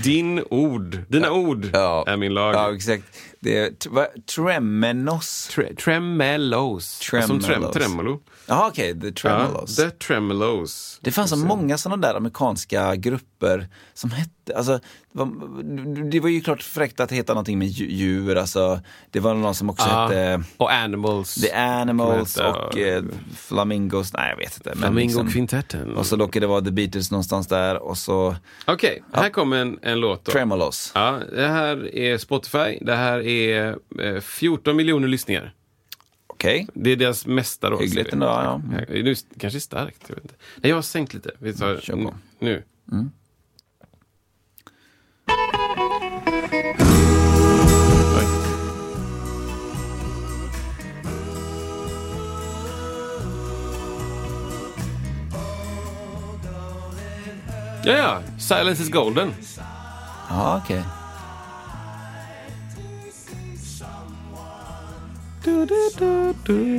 Speaker 2: din ord, dina ord
Speaker 1: Ja.
Speaker 2: är min lag.
Speaker 1: Ja, exakt. Det är t- va, Tremenos.
Speaker 2: Tre- tremelos. Som trem-
Speaker 1: Tremelos.
Speaker 2: tremolo.
Speaker 1: Jaha, okej. the Tremelos.
Speaker 2: Ja, the tremelos.
Speaker 1: Det fanns så många sådana där amerikanska grupper som hette, alltså, det var- det var ju klart fräckt att heta någonting med dju- djur, alltså, det var någon som också
Speaker 2: Ja.
Speaker 1: hette eh,
Speaker 2: Och animals.
Speaker 1: The Animals liksom.
Speaker 2: Ah. Kommer heta-
Speaker 1: och eh, Flamingos, nej jag vet inte. men liksom,
Speaker 2: Flamingokvintetten.
Speaker 1: och så råkade det vara The Beatles någonstans där och så
Speaker 2: Okej, här kommer en, en låt. Då.
Speaker 1: Tremolos.
Speaker 2: Ja, det här är Spotify. Det här är eh, 14 miljoner lyssningar.
Speaker 1: Okej,
Speaker 2: Det är deras mesta då.
Speaker 1: Hyggligt
Speaker 2: ser vi.
Speaker 1: ändå, ja.
Speaker 2: Ja, Nu s- kanske är starkt. Jag, vet inte. Nej, jag har sänkt lite. Vi tar
Speaker 1: Kör på.
Speaker 2: n- nu. Oj. Ja, ja. Silence is golden.
Speaker 1: ja okej.
Speaker 2: Du, du, du, du,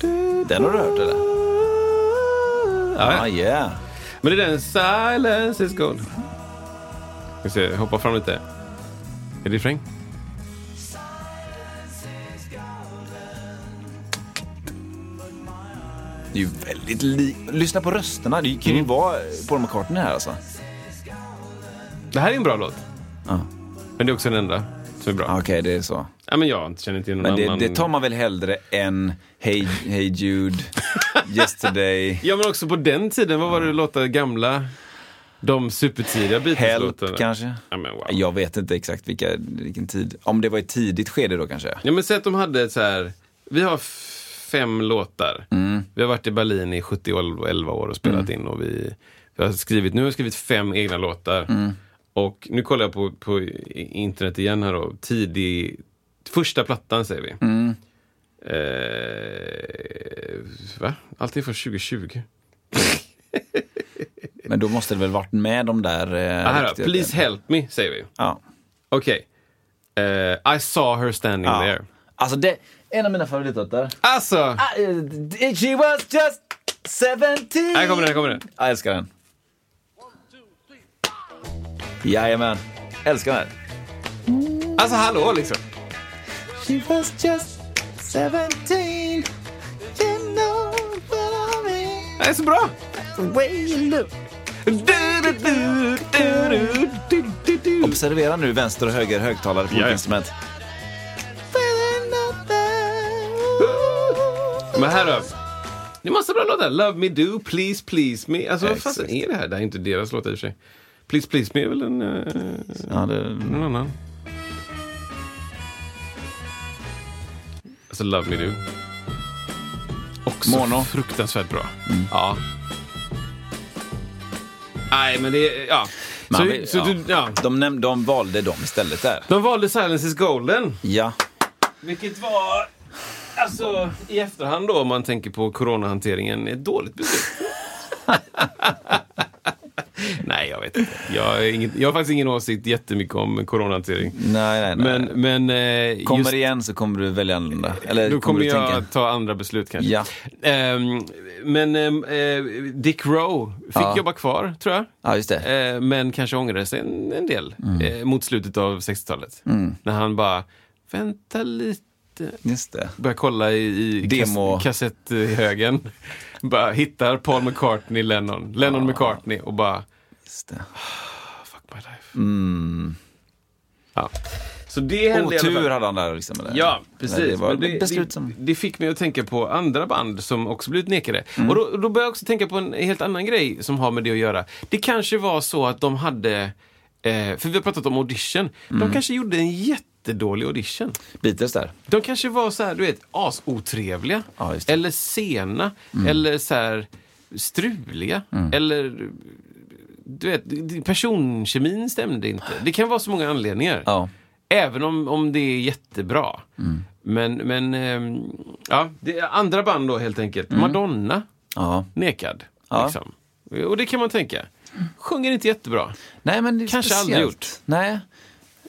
Speaker 2: du.
Speaker 1: Den har du hört eller?
Speaker 2: Ja, ja.
Speaker 1: Ah, yeah.
Speaker 2: Men det är den Silence is gold. Vi se, hoppa fram lite. Är det refräng?
Speaker 1: Det är ju väldigt likt, lyssna på rösterna, det
Speaker 2: Mm.
Speaker 1: kan ju vara Paul McCartney här alltså.
Speaker 2: Det här är en bra låt.
Speaker 1: Ja.
Speaker 2: Men det är också den enda som är bra.
Speaker 1: Okej, det är så.
Speaker 2: Ja, men jag känner inte till någon
Speaker 1: Men det,
Speaker 2: annan.
Speaker 1: det tar man väl hellre än Hey, hey Jude, Yesterday,
Speaker 2: Ja, men också på den tiden. Vad var det låtar gamla? De supertidiga
Speaker 1: Help
Speaker 2: Beatles-låtarna.
Speaker 1: kanske?
Speaker 2: Ja, men wow.
Speaker 1: Jag vet inte exakt vilka, vilken tid. Om det var ett tidigt skede då kanske?
Speaker 2: Ja, men säg att de hade så här. Vi har f- fem låtar. Vi har varit i Berlin i 70 och 11 år och spelat in. Och vi, vi har skrivit, nu har jag skrivit fem egna låtar. Och nu kollar jag på, på i- internet igen här då. Tidig, första plattan säger vi. Eh, va? Allting från 2020.
Speaker 1: Men då måste det väl varit med de där... Eh,
Speaker 2: Ah, här då,
Speaker 1: riktiga-
Speaker 2: Please help me säger vi.
Speaker 1: Ja.
Speaker 2: Okej. Eh, I saw her standing
Speaker 1: ja.
Speaker 2: there.
Speaker 1: Alltså det, en av mina favoritlåtar.
Speaker 2: Alltså!
Speaker 1: Ah, eh, She was just 17!
Speaker 2: Här kommer den, här kommer den.
Speaker 1: Jag älskar den. Jajamän, älskar den.
Speaker 2: Alltså hallå liksom.
Speaker 1: She was just 17 You know what I mean
Speaker 2: Det är så bra!
Speaker 1: The way you look Observera nu vänster och höger högtalare på olika
Speaker 2: Jaja.
Speaker 1: instrument.
Speaker 2: Men här då. Det är massa bra låtar. Love me do, please please me. Alltså vad fasen är det här? Det här är inte deras låt i och för sig. Please please me är väl en... eh,
Speaker 1: Ja, det,
Speaker 2: någon annan. Alltså Love me do. Också
Speaker 1: Mono. Mm.
Speaker 2: fruktansvärt bra. Ja. Nej men det är... Ja.
Speaker 1: Man
Speaker 2: Så,
Speaker 1: vill-
Speaker 2: så
Speaker 1: ja.
Speaker 2: Du, ja.
Speaker 1: de, näm- de valde dem istället där.
Speaker 2: De valde Silence is golden.
Speaker 1: Ja.
Speaker 2: Vilket var, alltså i efterhand då om man tänker på coronahanteringen, ett dåligt beslut. Nej, jag vet inte. Jag har, ingen, jag har faktiskt ingen åsikt jättemycket om coronahantering.
Speaker 1: Nej, nej, nej.
Speaker 2: Men, men eh,
Speaker 1: kommer
Speaker 2: just,
Speaker 1: igen så kommer du välja annorlunda. Eller
Speaker 2: då kommer
Speaker 1: du
Speaker 2: jag
Speaker 1: tänka.
Speaker 2: ta andra beslut kanske.
Speaker 1: Ja.
Speaker 2: Ehm, men ehm, eh, Dick Rowe fick
Speaker 1: Ja.
Speaker 2: jobba kvar, tror jag.
Speaker 1: Ja, Mm. just det.
Speaker 2: Eh, men kanske ångrade sig en, en del eh, mot slutet av 60-talet.
Speaker 1: Mm.
Speaker 2: När han bara, vänta lite,
Speaker 1: Just det.
Speaker 2: börjar kolla i, i
Speaker 1: Demo.
Speaker 2: Kas- kassetthögen. bara hittar Paul McCartney, Lennon,
Speaker 1: Ah.
Speaker 2: Lennon McCartney och bara
Speaker 1: Just det.
Speaker 2: fuck my life. Ja. Så det hände i alla fall.
Speaker 1: Mm. Otur hade han där liksom. Eller?
Speaker 2: Ja,
Speaker 1: Nej, Det
Speaker 2: precis.
Speaker 1: var
Speaker 2: Men det,
Speaker 1: beslut som...
Speaker 2: det, det fick mig att tänka på andra band som också blivit nekade.
Speaker 1: Mm.
Speaker 2: Och då, då började jag också tänka på en helt annan grej som har med det att göra. Det kanske var så att de hade, eh, för vi har pratat om audition,
Speaker 1: Mm.
Speaker 2: de kanske gjorde en jättedålig audition.
Speaker 1: Beatles där.
Speaker 2: De kanske var så här, du vet, asotrevliga.
Speaker 1: Ja, just det. Mm.
Speaker 2: eller sena. Eller så här struliga. Eller, du vet, personkemin stämde inte. Det kan vara så många anledningar.
Speaker 1: Ja. Mm.
Speaker 2: Även om, om det är jättebra. Men, men ehm, ja, det är andra band då helt enkelt. Madonna,
Speaker 1: Mm. Ja.
Speaker 2: nekad.
Speaker 1: Ja.
Speaker 2: Liksom. Och det kan man tänka. Sjunger inte jättebra.
Speaker 1: Nej, men det är
Speaker 2: Kanske
Speaker 1: speciellt.
Speaker 2: aldrig gjort.
Speaker 1: Nej.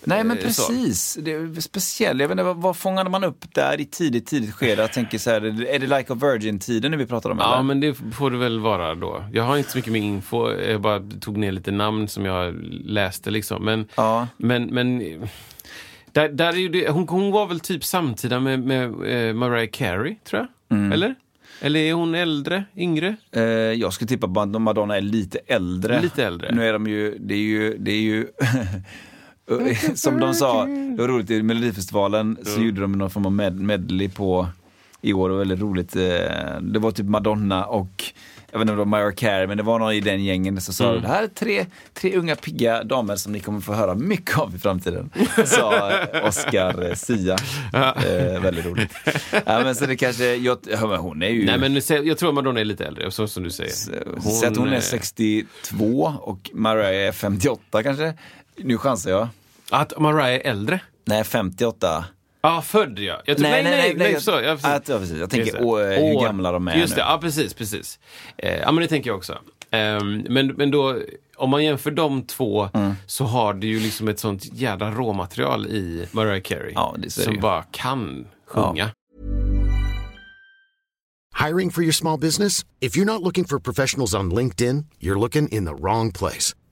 Speaker 1: Nej, men
Speaker 2: Eh,
Speaker 1: precis. Det är speciellt. Jag vet inte, vad, vad fångade man upp där i tidigt, tidigt skede? Jag tänker så här, är det Like a Virgin-tiden vi pratar om?
Speaker 2: Ja,
Speaker 1: eller?
Speaker 2: men det får det väl vara då. Jag har inte så mycket mer info. Jag bara tog ner lite namn som jag läste liksom. Men,
Speaker 1: Ja.
Speaker 2: men, men Där, där är ju det, hon, hon var väl typ samtida med, med eh, Mariah Carey, tror jag?
Speaker 1: Mm.
Speaker 2: Eller? Eller är hon äldre? Yngre?
Speaker 1: Eh, jag skulle tippa på att Madonna är lite äldre.
Speaker 2: Lite äldre.
Speaker 1: Nu är de ju, det är ju, det är ju som de sa, det var roligt i Melodifestivalen så gjorde de någon form av med, medley på i år, det var väldigt roligt. Eh, Det var typ Madonna och jag vet inte om det var Mariah Carey, men det var någon i den gängen som
Speaker 2: Mm.
Speaker 1: sa det här är tre, tre unga pigga damer som ni kommer få höra mycket av i framtiden. Sa Oscar Sia. Eh, väldigt roligt. Ja, men så det kanske, jag, ja, men hon är ju...
Speaker 2: Nej, men nu sä- jag tror Madonna är lite äldre, så som du säger.
Speaker 1: Säg att hon är
Speaker 2: eh,
Speaker 1: 62 och Mariah är 58 kanske. Nu chansar jag.
Speaker 2: Att Mariah är äldre?
Speaker 1: Nej, 58.
Speaker 2: Ja, född ja. Jag tror, nej, nej, nej,
Speaker 1: jag-
Speaker 2: så, ja, precis.
Speaker 1: att- ja, precis. Jag tänker,
Speaker 2: Just det.
Speaker 1: åh, eh, hur
Speaker 2: År.
Speaker 1: gamla de är
Speaker 2: Just
Speaker 1: nu.
Speaker 2: det, ja precis, precis. Eh, ja, men det tänker jag också. Ehm, men, men då, om man jämför de två
Speaker 1: Mm.
Speaker 2: så har du ju liksom ett sånt jävla råmaterial i Mariah Carey.
Speaker 1: Ja, det ser
Speaker 2: som
Speaker 1: jag.
Speaker 2: bara kan sjunga.
Speaker 3: Hiring for your small business? If you're not looking for professionals on LinkedIn, you're looking in the wrong place.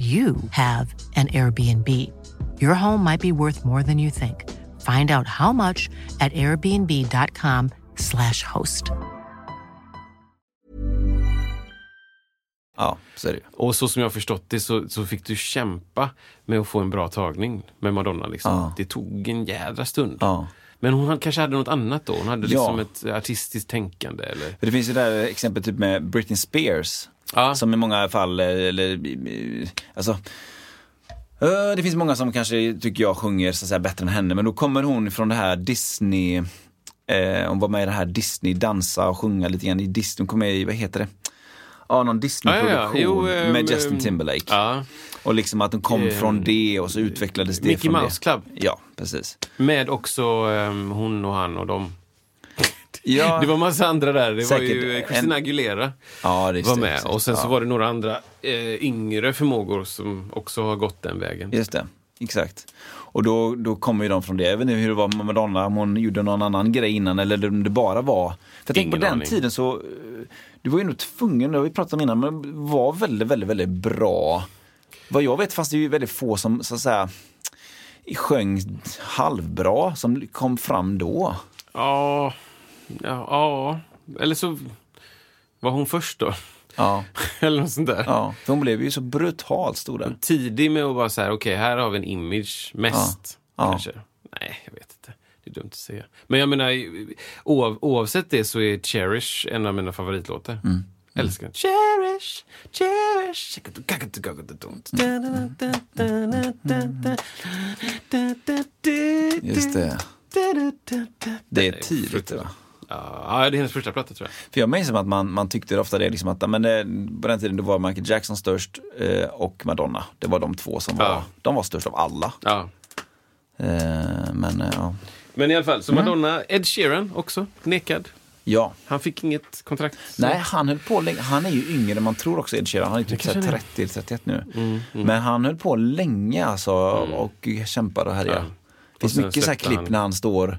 Speaker 4: you have an Airbnb. Your home might be worth more than you think. Find out how much at airbnb.com/slash host.
Speaker 1: Ja, så är det ju.
Speaker 2: Och så som jag har förstått det så, så fick du kämpa med att få en bra tagning med Madonna. Liksom.
Speaker 1: Ja.
Speaker 2: Det tog en jädra stund.
Speaker 1: Ja.
Speaker 2: Men hon hade, kanske hade något annat då? Hon hade liksom
Speaker 1: Ja.
Speaker 2: ett artistiskt tänkande? Eller?
Speaker 1: För det finns ju det här exemplet typ med Britney Spears.
Speaker 2: Ja.
Speaker 1: Som i många fall, eh, eller, eh, alltså. eh, Det finns många som kanske tycker jag sjunger så att säga, bättre än henne. Men då kommer hon från det här Disney. Eh, hon var med i det här Disney dansa och sjunga lite grann i Disney. Hon kom med i, vad heter det? Ja, någon Disney-produktion
Speaker 2: Jo, ehm,
Speaker 1: med Justin
Speaker 2: ehm,
Speaker 1: Timberlake.
Speaker 2: Ja. Eh,
Speaker 1: Och liksom att hon kom från det och så utvecklades det
Speaker 2: Mickey
Speaker 1: från
Speaker 2: Mouse
Speaker 1: det.
Speaker 2: Club.
Speaker 1: Ja, precis.
Speaker 2: Med också ehm, hon och han och dem.
Speaker 1: Ja,
Speaker 2: Det var massa andra där. Det
Speaker 1: Säkert
Speaker 2: var ju eh, Christina
Speaker 1: en-
Speaker 2: Aguilera
Speaker 1: ja det
Speaker 2: var
Speaker 1: det,
Speaker 2: med.
Speaker 1: just det.
Speaker 2: Och sen så
Speaker 1: Ja,
Speaker 2: var det några andra eh, yngre förmågor som också har gått den vägen.
Speaker 1: Just det, exakt. Och då, då kommer ju de från det. Jag vet inte hur det var med Madonna, om hon gjorde någon annan grej innan eller om det bara var... För jag tänker på
Speaker 2: Ingen
Speaker 1: den
Speaker 2: aning.
Speaker 1: tiden så... eh, Du var ju nog tvungen, det har vi pratat om innan, men var väldigt, väldigt, väldigt bra. Vad jag vet fanns det ju väldigt få som så att säga sjöng halvbra som kom fram då.
Speaker 2: Ja, ja, ja. Eller så var hon först då.
Speaker 1: Ja.
Speaker 2: Eller något sånt där.
Speaker 1: ja. För hon blev ju så brutalt stor där.
Speaker 2: Tidig med att vara så här, okej, här har vi en image mest.
Speaker 1: Ja.
Speaker 2: Kanske. Nej, jag vet inte. Det är dumt att säga. Men jag menar, oav, oavsett det så är Cherish en av mina favoritlåtar.
Speaker 1: Mm.
Speaker 2: Älskar den. Cherish, cherish.
Speaker 1: Just det. Det är tidigt. Va?
Speaker 2: Ja, det är hennes första platta tror jag.
Speaker 1: För jag minns som att man, man tyckte ofta det, liksom att men det, på den tiden då var Michael Jackson störst eh, och Madonna. Det var de två som var,
Speaker 2: Ja.
Speaker 1: de var störst av alla.
Speaker 2: Ja.
Speaker 1: Eh, men eh, ja.
Speaker 2: Men i alla fall, så Madonna, Ed Sheeran också, nekad.
Speaker 1: ja.
Speaker 2: Han fick inget kontrakt.
Speaker 1: Nej, han höll på länge. Han är ju yngre än man tror också, Ed Sheeran. Han är typ så här 30 eller 31 nu.
Speaker 2: Mm,
Speaker 1: Men han höll på länge alltså och kämpade och härjade.
Speaker 2: Ja.
Speaker 1: Det finns
Speaker 2: Och sen
Speaker 1: mycket så här
Speaker 2: släppte
Speaker 1: klipp
Speaker 2: han-
Speaker 1: när han står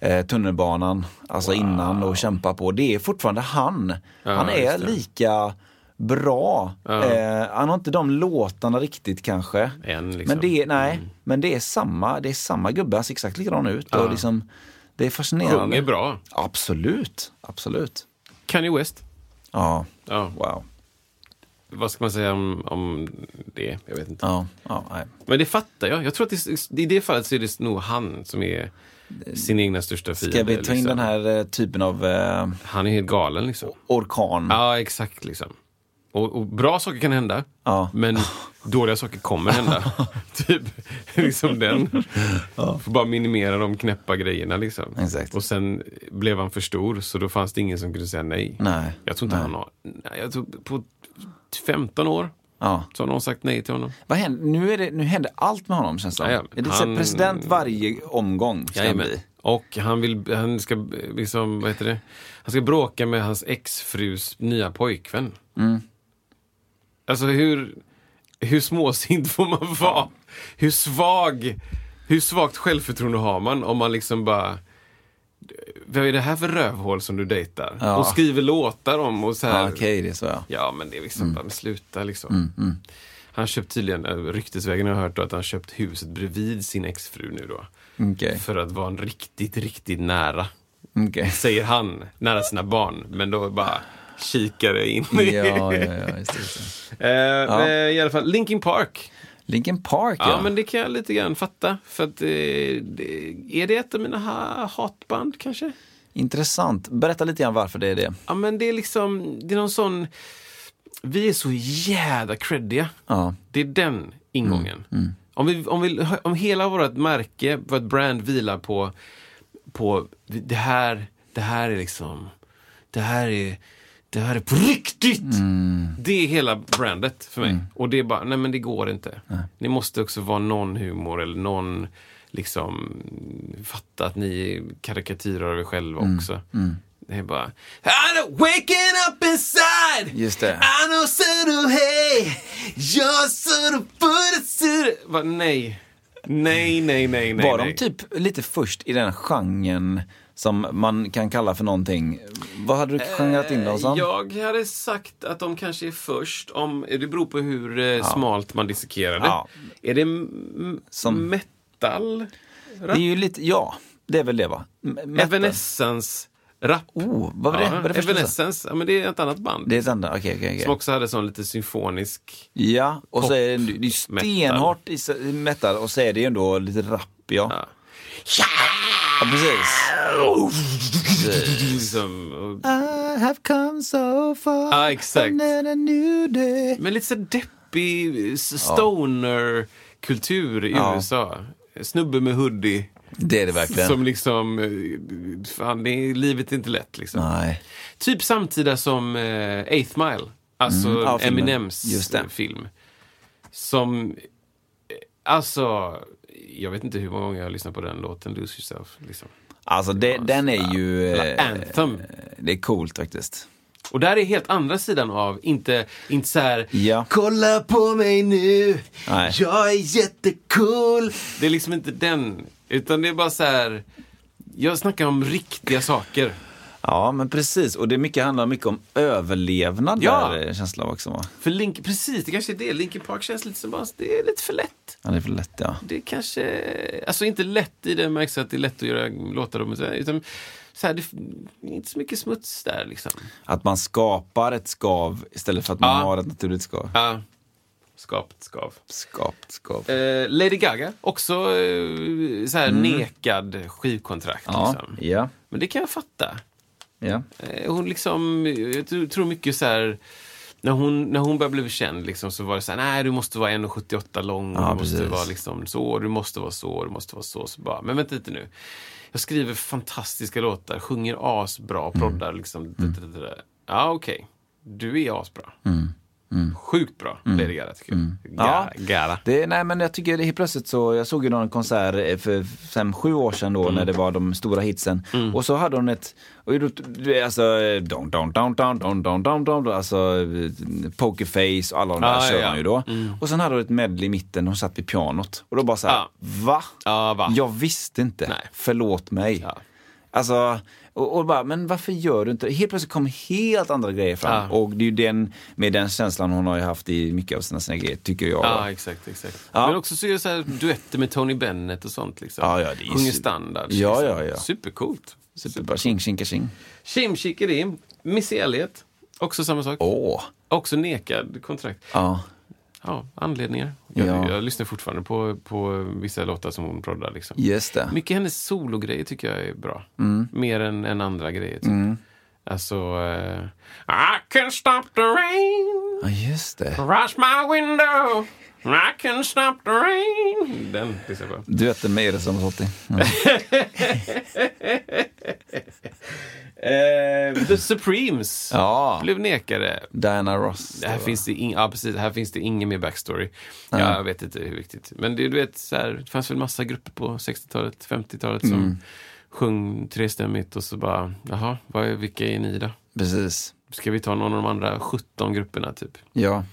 Speaker 1: eh, tunnelbanan, alltså innan och kämpar på. Det är fortfarande han. han är
Speaker 2: just det.
Speaker 1: lika bra.
Speaker 2: Ja.
Speaker 1: Eh, han har inte de låtarna riktigt kanske.
Speaker 2: Än, liksom.
Speaker 1: Men, det är, nej, men det är samma, det är samma gubbe, han ser exakt likadan ut. Och liksom, det är fascinerande.
Speaker 2: Sjunger bra.
Speaker 1: Absolut, absolut.
Speaker 2: Kanye West.
Speaker 1: Ja.
Speaker 2: Ja.
Speaker 1: Wow.
Speaker 2: vad ska man säga om, om det? Jag vet inte.
Speaker 1: Ja, ja, nej.
Speaker 2: Men det fattar jag. Jag tror att det, i det fallet så är det nog han som är sin egna största fiende.
Speaker 1: Ska vi ta in
Speaker 2: liksom.
Speaker 1: den här eh, typen av eh,
Speaker 2: Han är helt galen liksom.
Speaker 1: orkan?
Speaker 2: Ja, exakt liksom. Och, och bra saker kan hända,
Speaker 1: Ja.
Speaker 2: men dåliga saker kommer hända. typ liksom den. Får bara minimera de knäppa grejerna liksom.
Speaker 1: Exakt.
Speaker 2: Och sen blev han för stor, så då fanns det ingen som kunde säga nej.
Speaker 1: Nej.
Speaker 2: Jag tror inte han har... Nej, jag tror på 15 år
Speaker 1: Ja.
Speaker 2: så har någon sagt nej till honom.
Speaker 1: Vad händer? Nu, är det, nu händer allt med honom känns det som.
Speaker 2: Ja, ja,
Speaker 1: Är det
Speaker 2: han-
Speaker 1: han... president varje omgång? Ska han
Speaker 2: Jajamän.
Speaker 1: bli?
Speaker 2: Och han, vill, han ska eh, liksom, vad heter det? Han ska bråka med hans exfrus nya pojkvän.
Speaker 1: Mm.
Speaker 2: Alltså hur, hur småsint får man vara? Hur svag, hur svagt självförtroende har man om man liksom bara vad är det här för rövhål som du dejtar?
Speaker 1: Ja.
Speaker 2: Och skriver låtar om och så här.
Speaker 1: Ja, Okej, Mm. det är så ja.
Speaker 2: Ja, men det är liksom, bara, men sluta liksom. Han har köpt tydligen, eh, ryktesvägen har jag hört då, att han har köpt huset bredvid sin exfru nu då.
Speaker 1: Okej.
Speaker 2: För att vara en riktigt, riktigt nära.
Speaker 1: Okej.
Speaker 2: Säger han, nära sina barn. Men då bara kikar jag in.
Speaker 1: Ja, ja, ja, just det, just det.
Speaker 2: Eh, men I alla fall, Linkin Park.
Speaker 1: Linkin Park
Speaker 2: Ja,
Speaker 1: ja.
Speaker 2: men det kan jag lite grann fatta. För att, eh, det, är det ett av mina ha- hatband kanske?
Speaker 1: Intressant. Berätta lite grann varför det är det.
Speaker 2: Ja, men det är liksom, det är någon sån... Vi är så jävla creddiga.
Speaker 1: Ja.
Speaker 2: Det är den ingången. Om, vi, om, vi, om hela vårt märke, vårt brand vilar på, på det här, det här är liksom, det här är, det här är på riktigt. Det är hela brandet för
Speaker 1: Mm.
Speaker 2: mig. Och det är bara, nej men det går inte. Ni måste också vara någon humor eller någon, liksom, fatta att ni karikatyrer av er själva
Speaker 1: Mm.
Speaker 2: också. Det är bara, I'm waking up inside!
Speaker 1: Just det.
Speaker 2: I know sort of hey, you're sort of but it's sort of... Va, nej. Nej, nej, nej, nej.
Speaker 1: Var
Speaker 2: nej.
Speaker 1: de typ lite först i den genren som man kan kalla för någonting? Vad hade du genrat in dem som?
Speaker 2: Jag hade sagt att de kanske är först om, det beror på hur eh, smalt man dissekerar det.
Speaker 1: Ja.
Speaker 2: Är det m-
Speaker 1: Som-
Speaker 2: metal?
Speaker 1: Det är ju lite, ja, det är väl det va? M- metal.
Speaker 2: Evanescence rap.
Speaker 1: Oh, vad var det?
Speaker 2: Ja,
Speaker 1: Vad var det första du sa?
Speaker 2: Evanescence, ja, men det är ett annat band.
Speaker 1: Det är ett enda, okej, okej, okej.
Speaker 2: Som också hade sån lite symfonisk...
Speaker 1: Ja, och så är det, det är ju
Speaker 2: Metal.
Speaker 1: stenhårt i s- i metal och så är det ju ändå lite rapp, ja. Ja, precis.
Speaker 2: Liksom, och,
Speaker 1: I have come so far
Speaker 2: Ja, exakt.
Speaker 1: and then a new day.
Speaker 2: men lite så deppig s- stoner-kultur i
Speaker 1: Ja.
Speaker 2: USA. Snubbe med hoodie.
Speaker 1: Det är det verkligen.
Speaker 2: Som liksom, eh, fan, det är, livet är inte lätt liksom.
Speaker 1: Nej.
Speaker 2: Typ samtida som eh, Eighth Mile, alltså
Speaker 1: Mm. Ja, filmen.
Speaker 2: Eminems
Speaker 1: Just det.
Speaker 2: eh, film. Som, eh, alltså, jag vet inte hur många gånger jag har lyssnat på den låten, Lose Yourself. Liksom.
Speaker 1: Alltså det, den är ju...
Speaker 2: Eller
Speaker 1: eh,
Speaker 2: Anthem.
Speaker 1: Det är coolt faktiskt.
Speaker 2: Och där är helt andra sidan av, inte, inte så här,
Speaker 1: Ja.
Speaker 2: kolla på mig nu,
Speaker 1: Nej.
Speaker 2: jag är jättecool. Det är liksom inte den, utan det är bara så här, jag snackar om riktiga saker.
Speaker 1: Ja, men precis. Och det är mycket, handlar mycket om överlevnad
Speaker 2: Ja.
Speaker 1: där, eh, känslan också va?
Speaker 2: För Link, precis, det kanske är det, Linkin Park känns lite som bara, det är lite för lätt.
Speaker 1: Ja, det är väl lätt ja.
Speaker 2: det kanske, alltså inte lätt i den märks att det är lätt att göra låtar om, utan så här, det är inte så mycket smuts där liksom.
Speaker 1: Att man skapar ett skav istället för att man
Speaker 2: Ja.
Speaker 1: har ett naturligt skav.
Speaker 2: Ja. Skapt skav.
Speaker 1: Skapt skav.
Speaker 2: Eh, Lady Gaga, också eh, så här nekad skivkontrakt.
Speaker 1: Ja,
Speaker 2: Liksom.
Speaker 1: ja,
Speaker 2: Men det kan jag fatta.
Speaker 1: ja.
Speaker 2: Eh, Hon liksom, jag tr- tror mycket så här, när hon, när hon började bli känd liksom, så var det så här, nej du måste vara 1,78 lång,
Speaker 1: Ja,
Speaker 2: du måste
Speaker 1: precis.
Speaker 2: vara liksom så, du måste vara så, du måste vara så. så bara, men vänta lite nu. Jag skriver fantastiska låtar, sjunger
Speaker 1: Mm.
Speaker 2: asbra, proddar liksom. d- d- d- d- Ja, okej. Du är asbra.
Speaker 1: Mm.
Speaker 2: Sjukt bra, Lady Gaga tycker jag. Gaga. Gaga.
Speaker 1: Det, nej men jag tycker det, helt plötsligt så, jag såg ju någon konsert eh, för fem, sju år sedan
Speaker 2: Mm.
Speaker 1: då när det var de stora hitsen. Och så hade hon ett, och då- det- alltså, eh, don, don, don, don, don, don, don, don, don, alltså eh, Pokerface och alla de där
Speaker 2: Ah,
Speaker 1: kör
Speaker 2: ja.
Speaker 1: hon ju då. Och sen hade hon ett medley i mitten, hon satt vid pianot. Och då bara såhär,
Speaker 2: Ah.
Speaker 1: va?
Speaker 2: Ja, va?
Speaker 1: Jag visste inte,
Speaker 2: Nej.
Speaker 1: förlåt mig.
Speaker 2: Ja.
Speaker 1: Alltså, och, och bara, men varför gör du inte? Helt plötsligt kom helt andra grejer fram.
Speaker 2: Ja.
Speaker 1: Och det är ju den, med den känslan hon har ju haft i mycket av sina, sina grejer, tycker jag.
Speaker 2: Ja, exakt. exakt.
Speaker 1: Ja.
Speaker 2: Men också så är det så här duetter med Tony Bennett och sånt. Liksom.
Speaker 1: Ja, ja, det är
Speaker 2: Sjunger
Speaker 1: su-
Speaker 2: standard.
Speaker 1: Ja, ja, ja.
Speaker 2: Supercoolt.
Speaker 1: Superbra. Tjing, tjing, tjing.
Speaker 2: Shimshikeri, Missy Elliott. Också samma sak.
Speaker 1: Åh,
Speaker 2: Också nekad kontrakt.
Speaker 1: Ja.
Speaker 2: Ja, anledningar. Jag,
Speaker 1: Ja.
Speaker 2: jag lyssnar fortfarande på, på vissa låtar som hon proddar. Liksom.
Speaker 1: Just det.
Speaker 2: Mycket hennes sologrejer tycker jag är bra.
Speaker 1: Mm.
Speaker 2: Mer än, än andra grejer. Typ. Alltså... eh, I can stop the rain,
Speaker 1: Ja, just det.
Speaker 2: rush my window. I can stop the rain. Den lyssnar jag på.
Speaker 1: Duetten med Iris som Totti.
Speaker 2: Eh, The Supremes
Speaker 1: Ja.
Speaker 2: blev nekade.
Speaker 1: Diana Ross.
Speaker 2: Det här, finns det in, ja, precis, här finns det ingen mer backstory. Ja, jag vet inte hur viktigt. Men det, du vet, så här, det fanns väl massa grupper på 60-talet, 50-talet som
Speaker 1: Mm.
Speaker 2: sjöng trestämmigt och så bara, jaha, vad är, vilka är ni då?
Speaker 1: Precis.
Speaker 2: Ska vi ta någon av de andra 17 grupperna typ?
Speaker 1: Ja.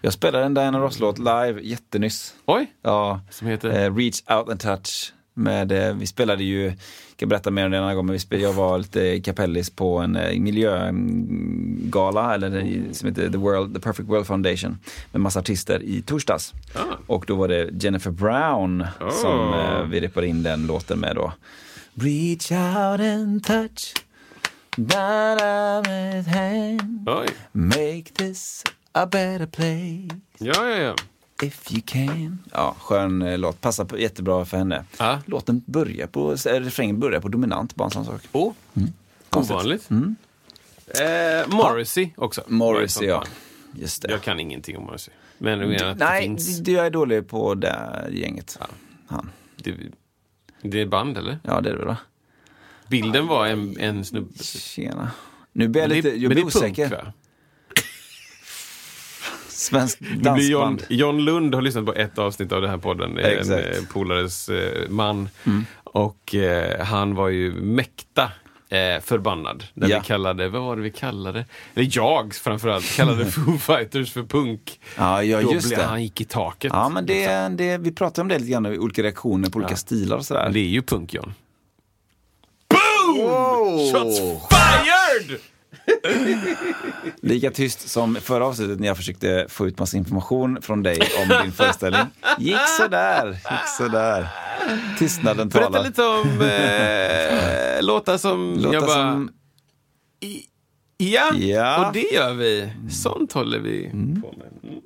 Speaker 1: Jag spelade en Diana Ross-låt live jättenyss.
Speaker 2: Oj!
Speaker 1: Ja.
Speaker 2: Som heter?
Speaker 1: Eh, Reach Out and Touch. Med, eh, vi spelade ju, jag kan berätta mer om det en annan gång, men vi spelade, jag var lite kapellis på en eh, miljögala eller, det- som heter The, World, The Perfect World Foundation med massa artister i torsdags. Och då var det Jennifer Brown som eh, vi repade in den låten med då. Reach out and touch that I'm at hand.
Speaker 2: Oj!
Speaker 1: Make this a better place.
Speaker 2: Ja, ja, ja.
Speaker 1: If you can. Ja, skön eh, låt. Passar på, jättebra för henne.
Speaker 2: Ja.
Speaker 1: Låten börjar på, äh, refrängen börjar på dominant, bara en sån sak.
Speaker 2: Oh. Ovanligt. Eh, Morrissey också.
Speaker 1: Mm. Morrissey, ja. Just det.
Speaker 2: Jag kan ingenting om Morrissey. Men jag menar att det
Speaker 1: Nej,
Speaker 2: finns.
Speaker 1: det- det- jag är dålig på det gänget. Han.
Speaker 2: Det, det är band eller?
Speaker 1: Ja, det är det väl, va?
Speaker 2: Bilden var en, en snubbe.
Speaker 1: Tjena. Nu blir jag
Speaker 2: Men det-
Speaker 1: lite, jag
Speaker 2: men det
Speaker 1: blir
Speaker 2: är
Speaker 1: osäker.
Speaker 2: Punk, va?
Speaker 1: Svensk
Speaker 2: Det blir John,
Speaker 1: dansband.
Speaker 2: John Lund har lyssnat på ett avsnitt av den här podden. Det är
Speaker 1: Exakt. Mm.
Speaker 2: En eh, polares eh, man. Och eh, han var ju mäkta eh, förbannad när
Speaker 1: Ja.
Speaker 2: vi kallade, vad var det vi kallade? Eller jag framförallt, kallade Foo Fighters för punk.
Speaker 1: Ja, ja,
Speaker 2: Då
Speaker 1: just
Speaker 2: blev
Speaker 1: det.
Speaker 2: han gick i taket.
Speaker 1: Ja, men det,
Speaker 2: Liksom.
Speaker 1: det, vi pratade om det lite grann, olika reaktioner på olika stilar och sådär.
Speaker 2: Det är ju punk, John. Boom! Shots fired!
Speaker 1: Lika tyst som förra avsnittet när jag försökte få ut massa information från dig om din föreställning. Gick sådär, gick sådär. Tystnaden talar.
Speaker 2: Berätta lite om eh, låtar som
Speaker 1: Låtar
Speaker 2: jag bara...
Speaker 1: som...
Speaker 2: I- Ja,
Speaker 1: Ja. Mm.
Speaker 2: och det gör vi. Sånt håller vi på med.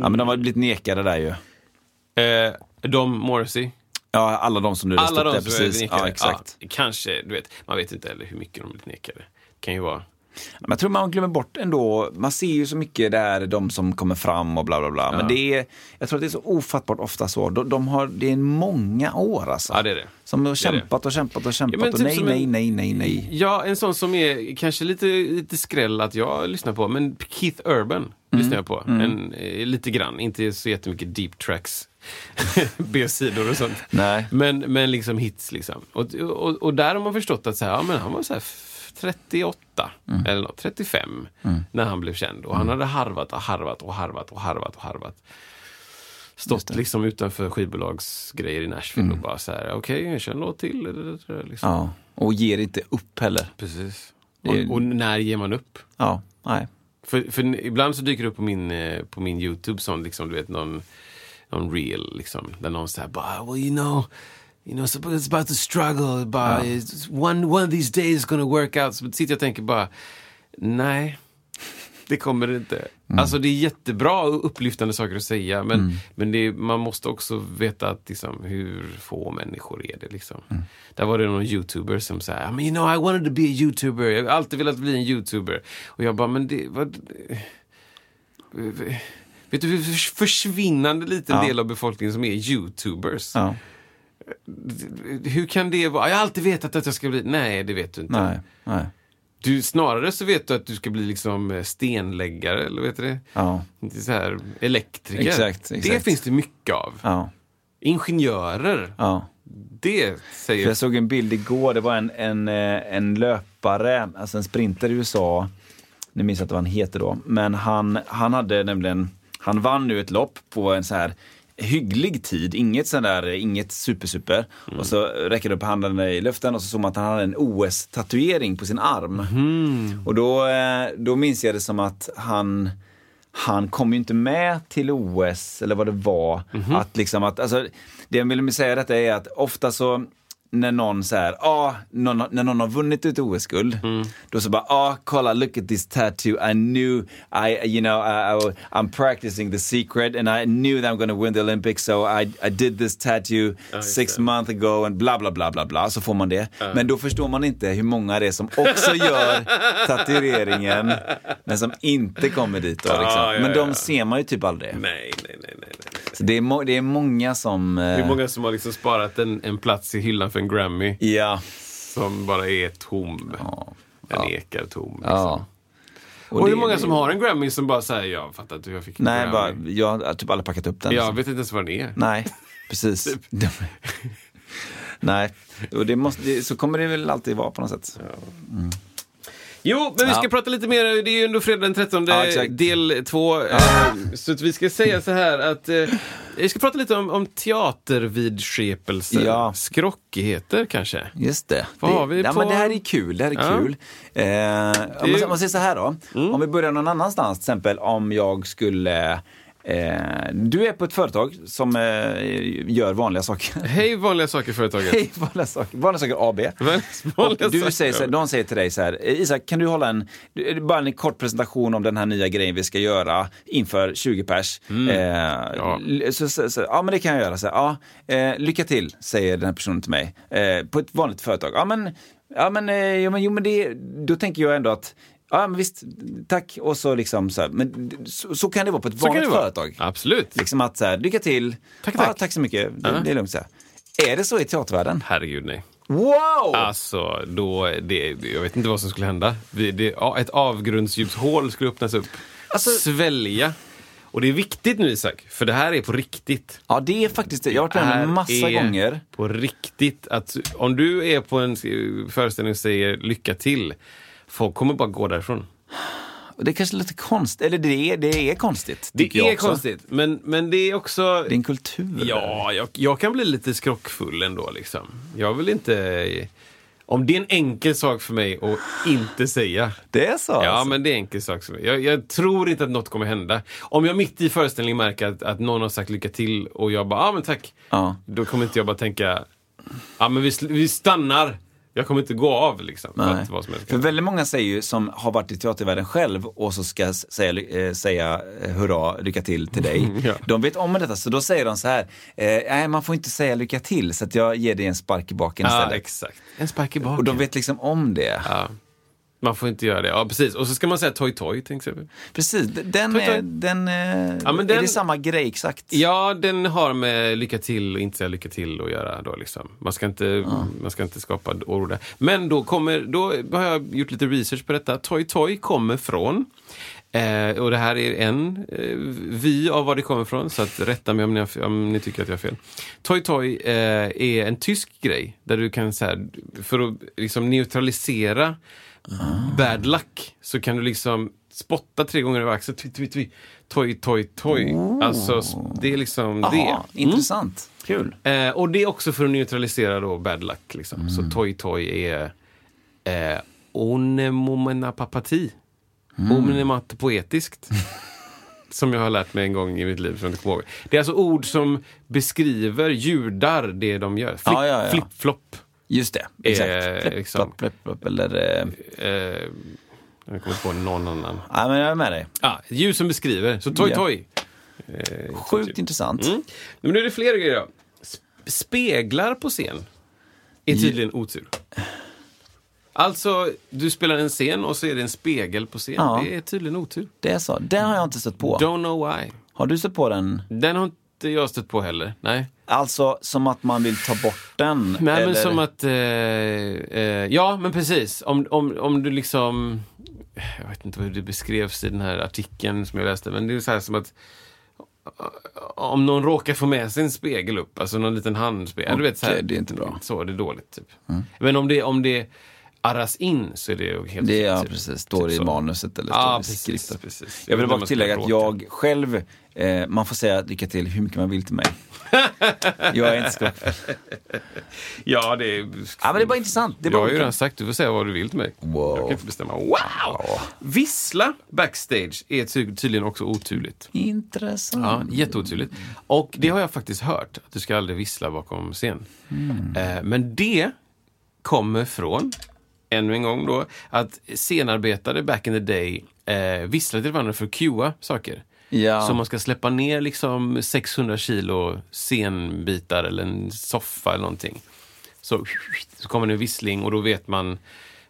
Speaker 1: Ja, men de har blivit nekade där ju.
Speaker 2: Eh, de Morrissey.
Speaker 1: Ja, alla de som du läste
Speaker 2: Alla
Speaker 1: upp där,
Speaker 2: de som är
Speaker 1: precis.
Speaker 2: nekade.
Speaker 1: Ja, exakt.
Speaker 2: Ja, kanske, du vet. Man vet inte heller hur mycket de blir nekade. Det kan ju vara...
Speaker 1: Men jag tror man glömmer bort ändå, man ser ju så mycket där de som kommer fram och bla bla bla. Men det är, jag tror att det är så ofattbart ofta så. De, de har, det är många år alltså.
Speaker 2: Ja, det är det.
Speaker 1: Som har
Speaker 2: Det är det.
Speaker 1: kämpat och kämpat och
Speaker 2: Ja,
Speaker 1: kämpat
Speaker 2: men
Speaker 1: och
Speaker 2: typ
Speaker 1: nej,
Speaker 2: som en-
Speaker 1: nej, nej, nej, nej.
Speaker 2: Ja, en sån som är kanske lite, lite skräll att jag lyssnar på, men Keith Urban
Speaker 1: Mm.
Speaker 2: lyssnar jag på. En, eh, lite grann, inte så jättemycket deep tracks, B-sidor och sånt.
Speaker 1: Nej.
Speaker 2: Men, men liksom hits liksom. Och, och, och där har man förstått att så här, ja, men han var så här f- 38
Speaker 1: Mm.
Speaker 2: eller något, 35 när han blev känd. Och han hade harvat och harvat och harvat och harvat och harvat. Stått liksom utanför skivbolagsgrejer i Nashville
Speaker 1: Mm.
Speaker 2: och bara så här, okej, jag kör en låt till. Liksom.
Speaker 1: Ja, och ger inte upp heller.
Speaker 2: Precis.
Speaker 1: Det är-
Speaker 2: Och, och när ger man upp?
Speaker 1: Ja, nej.
Speaker 2: För, för ibland så dyker det upp på min, eh, på min YouTube som liksom, du vet, någon, någon reel liksom, där någon säger bara, well you know, you know, it's about- it's about the struggle, bara, it's- one, one of these days is gonna work out. Så sitter jag och tänker bara, nej, det kommer det inte. Alltså det är jättebra och upplyftande saker att säga, men, men det, är- man måste också veta att, liksom, hur få människor är det. Liksom. Där var det någon youtuber som sa, I mean, you know, I wanted to be a youtuber, jag har alltid velat bli en youtuber. Och jag bara, men det, vad, eh, Vet du hur förs- försvinnande liten del av befolkningen som är youtubers?
Speaker 1: Ja.
Speaker 2: Hur kan det vara? Jag har alltid vetat att jag ska bli... Nej, det vet du inte.
Speaker 1: Nej, nej.
Speaker 2: Du, snarare så vet du att du ska bli liksom eh, stenläggare, eller vet du det?
Speaker 1: Ja.
Speaker 2: Inte Så här, elektriker.
Speaker 1: Exakt,
Speaker 2: Det
Speaker 1: exakt.
Speaker 2: finns det mycket av.
Speaker 1: Ja,
Speaker 2: Ingenjörer.
Speaker 1: ja.
Speaker 2: Det säger...
Speaker 1: För jag såg en bild igår, det var en, en, eh, en löpare, alltså en sprinter i USA, nu minns jag inte vad han heter då, men han, han hade nämligen, han vann nu ett lopp på en så här hygglig tid, inget sån där, inget super super. Och så räcker det upp handen i luften och så såg man att han hade en OS-tatuering på sin arm. Och då, eh, då minns jag det som att han han kom ju inte med till OS eller vad det var. Att liksom att, alltså, det jag vill säga detta är att ofta så när någon så här, ah, någon, när någon har vunnit ett OS-guld, då så bara, ah, kolla, look at this tattoo, I knew, I, you know, I, I, I'm practicing the secret and I knew that I'm gonna win the Olympics so I, I did this tattoo six months ago and bla bla bla bla bla, så får man det. Men då förstår man inte hur många det är som också gör tatueringen, men som inte kommer dit då. Liksom.
Speaker 2: Ja, ja,
Speaker 1: men de
Speaker 2: ja.
Speaker 1: ser man ju typ aldrig.
Speaker 2: Nej, nej, nej, nej. nej.
Speaker 1: Så det, är må- det är många som... eh,
Speaker 2: Det är många som har liksom sparat en, en plats i hyllan för en Grammy
Speaker 1: eh, Ja.
Speaker 2: som bara är tom. Den ekar tom. Liksom.
Speaker 1: ja.
Speaker 2: Och, det är
Speaker 1: det-
Speaker 2: många som har en Grammy som bara säger jag fattar inte hur jag fick en
Speaker 1: Nej,
Speaker 2: Grammy.
Speaker 1: bara, jag har typ aldrig packat upp den.
Speaker 2: Jag vet inte ens vad den är.
Speaker 1: Nej, precis.
Speaker 2: Typ.
Speaker 1: De- Nej, och det måste, det, så kommer det väl alltid vara på något sätt.
Speaker 2: Jo, men vi ska
Speaker 1: Ja.
Speaker 2: prata lite mer. Det är ju ändå fredag den 13,
Speaker 1: Ja, exakt.
Speaker 2: del 2. Så att vi ska säga så här att eh, vi ska prata lite om, om teatervidskepelser.
Speaker 1: Ja.
Speaker 2: Skrockigheter kanske.
Speaker 1: Just det.
Speaker 2: Vad
Speaker 1: det,
Speaker 2: har vi
Speaker 1: ja,
Speaker 2: på-
Speaker 1: men det här är kul. Det här är
Speaker 2: Ja. Mm.
Speaker 1: kul. Eh, om, man, om man säger så här då. Om vi börjar någon annanstans, till exempel om jag skulle... Eh, du är på ett företag som eh, gör vanliga saker.
Speaker 2: Hej vanliga saker företaget.
Speaker 1: Hej, vanliga saker, vanliga saker AB.
Speaker 2: Vanliga-
Speaker 1: Och
Speaker 2: vanliga saker.
Speaker 1: du säger så här, de säger till dig så här, Isak kan du hålla en, du- bara en kort presentation om den här nya grejen vi ska göra inför 20 pers.
Speaker 2: Mm.
Speaker 1: Eh, l- så, så, så, ja men det kan jag göra. Så, här, ja, eh, lycka till, säger den här personen till mig. Eh, på ett vanligt företag. Ja men, ja, men, eh, ja, men, jo, men det, då tänker jag ändå att Ja men visst, tack och så liksom så, här, men d- så, så kan det vara på ett
Speaker 2: Så kan
Speaker 1: vanligt
Speaker 2: det vara.
Speaker 1: företag.
Speaker 2: Absolut.
Speaker 1: Liksom att så här, lycka till,
Speaker 2: Tack,
Speaker 1: ja,
Speaker 2: tack.
Speaker 1: tack så mycket, det, det är lugnt så här. Är det så i teatervärlden?
Speaker 2: Herregud nej.
Speaker 1: Wow!
Speaker 2: Alltså, då, det, jag vet inte vad som skulle hända. Vi, det, ja, ett avgrundsdjupt hål skulle öppnas upp.
Speaker 1: Alltså-
Speaker 2: Svälja. Och det är viktigt nu Isak, för det här är på riktigt.
Speaker 1: Ja, det är faktiskt det. Jag har varit med om
Speaker 2: här
Speaker 1: det massa
Speaker 2: är
Speaker 1: gånger.
Speaker 2: på riktigt. Att om du är på en föreställning och säger lycka till, folk kommer bara gå därifrån.
Speaker 1: Och det är kanske lite konstigt. Eller det är, det är konstigt.
Speaker 2: Det
Speaker 1: tycker jag
Speaker 2: är
Speaker 1: också.
Speaker 2: konstigt, men, men det är också...
Speaker 1: Det är en kultur. där.
Speaker 2: Ja, jag, jag kan bli lite skrockfull ändå liksom. Jag vill inte... Om det är en enkel sak för mig att inte säga.
Speaker 1: Det är så?
Speaker 2: Ja,
Speaker 1: alltså.
Speaker 2: men det är en enkel sak. Som, jag, jag tror inte att något kommer hända. Om jag mitt i föreställningen märker att, att någon har sagt lycka till och jag bara, ja ah, men tack.
Speaker 1: Ja.
Speaker 2: Då kommer inte jag bara tänka, ja men vi, sl- vi stannar. Jag kommer inte gå av liksom. för
Speaker 1: Nej.
Speaker 2: Att, vad som helst.
Speaker 1: För väldigt många säger ju, som har varit i teatervärlden själv och så ska s- säga, eh, säga eh, hurra, lycka till till dig.
Speaker 2: Ja.
Speaker 1: De vet om detta, så då säger de så här, eh, nej man får inte säga lycka till, så att jag ger dig en spark i baken
Speaker 2: Ja,
Speaker 1: istället.
Speaker 2: exakt. En spark i baken.
Speaker 1: och de vet liksom om det.
Speaker 2: Man får inte göra det. Ja, precis. Och så ska man säga toj toj till exempel.
Speaker 1: Precis, d- den,
Speaker 2: Toj, toj.
Speaker 1: är, den, eh,
Speaker 2: men
Speaker 1: är
Speaker 2: den-
Speaker 1: det samma grej exakt?
Speaker 2: Ja, den har med lycka till och inte säga lycka till att göra. Då, liksom. man, ska inte, man ska inte skapa oro där. Men då, kommer, då har jag gjort lite research på detta. Toy Toy kommer från, eh, och det här är en eh, vy av var det kommer från, så att rätta mig om ni, har, om ni tycker att jag har fel. Toy Toy eh, är en tysk grej, där du kan så här, för att liksom neutralisera bad luck så kan du liksom spotta tre gånger över axeln. Tvi, tvi, tvi. Toj, toj, toj. Alltså, s- det är liksom
Speaker 1: Jaha,
Speaker 2: det.
Speaker 1: intressant. Kul.
Speaker 2: Eh, och det är också för att neutralisera då bad luck. Liksom. Så
Speaker 1: Mm.
Speaker 2: toj, toj är eh, onemomenapapati.
Speaker 1: Mm.
Speaker 2: Onematopoetiskt. som jag har lärt mig en gång i mitt liv. Som jag inte kommer ihåg. Det är alltså ord som beskriver judar, det de gör. Flip,
Speaker 1: Ja, ja, ja.
Speaker 2: Flip-flop.
Speaker 1: Just det,
Speaker 2: Eh,
Speaker 1: exakt.
Speaker 2: liksom.
Speaker 1: Flipp, flapp, flapp, eller... Eh,
Speaker 2: Eh, jag kommer inte på någon annan.
Speaker 1: ja, men jag är med dig.
Speaker 2: Ja, ljus som beskriver. Så toj,
Speaker 1: Ja.
Speaker 2: toj.
Speaker 1: Sjukt intressant.
Speaker 2: Mm. Men nu är det fler grejer då. Sp- Speglar på scen är tydligen otur. Alltså, du spelar en scen och så är det en spegel på scen.
Speaker 1: Ja.
Speaker 2: Det är tydligen otur.
Speaker 1: Det är så. Den har jag inte stött på.
Speaker 2: Don't know why.
Speaker 1: Har du stött på den?
Speaker 2: Den har inte jag stött på heller. Nej.
Speaker 1: Alltså, som att man vill ta bort den?
Speaker 2: Nej, men
Speaker 1: eller-
Speaker 2: som att... Eh, eh, ja, men precis. Om, om, om du liksom... Jag vet inte hur det beskrevs i den här artikeln som jag läste, men det är så här som att eh, om någon råkar få med sig en spegel upp, alltså någon liten handspegel. du vet, så här,
Speaker 1: Okej, det är inte bra. Mm.
Speaker 2: Så, det är dåligt. Typ. Men om det, om det arras in så är det ju helt
Speaker 1: Det,
Speaker 2: okej,
Speaker 1: ja,
Speaker 2: typ.
Speaker 1: precis. Står det
Speaker 2: Typ
Speaker 1: i
Speaker 2: så.
Speaker 1: manuset eller
Speaker 2: Ja,
Speaker 1: står det i
Speaker 2: precis,
Speaker 1: skriften.
Speaker 2: precis.
Speaker 1: Jag vill
Speaker 2: När
Speaker 1: bara
Speaker 2: man
Speaker 1: tillägga
Speaker 2: ska
Speaker 1: att
Speaker 2: bråka.
Speaker 1: jag själv, eh, man får säga lycka till hur mycket man vill till mig. jag är inte skrock.
Speaker 2: Ja, det är...
Speaker 1: Ja, men det är bara intressant. Det är
Speaker 2: jag
Speaker 1: bara
Speaker 2: har ju redan sagt, du får säga vad du vill till mig.
Speaker 1: Wow.
Speaker 2: Jag kan inte bestämma. Wow! Vissla backstage är ty- tydligen också oturligt.
Speaker 1: Intressant.
Speaker 2: Ja, jätteoturligt. Och det har jag faktiskt hört, att du ska aldrig vissla bakom scen. Eh, Men det kommer från, ännu en gång då, att scenarbetare back in the day eh, visslade till varandra för att cuea saker.
Speaker 1: Ja.
Speaker 2: Så man ska släppa ner liksom 600 kilo scenbitar eller en soffa eller någonting. Så, så kommer det en vissling och då vet man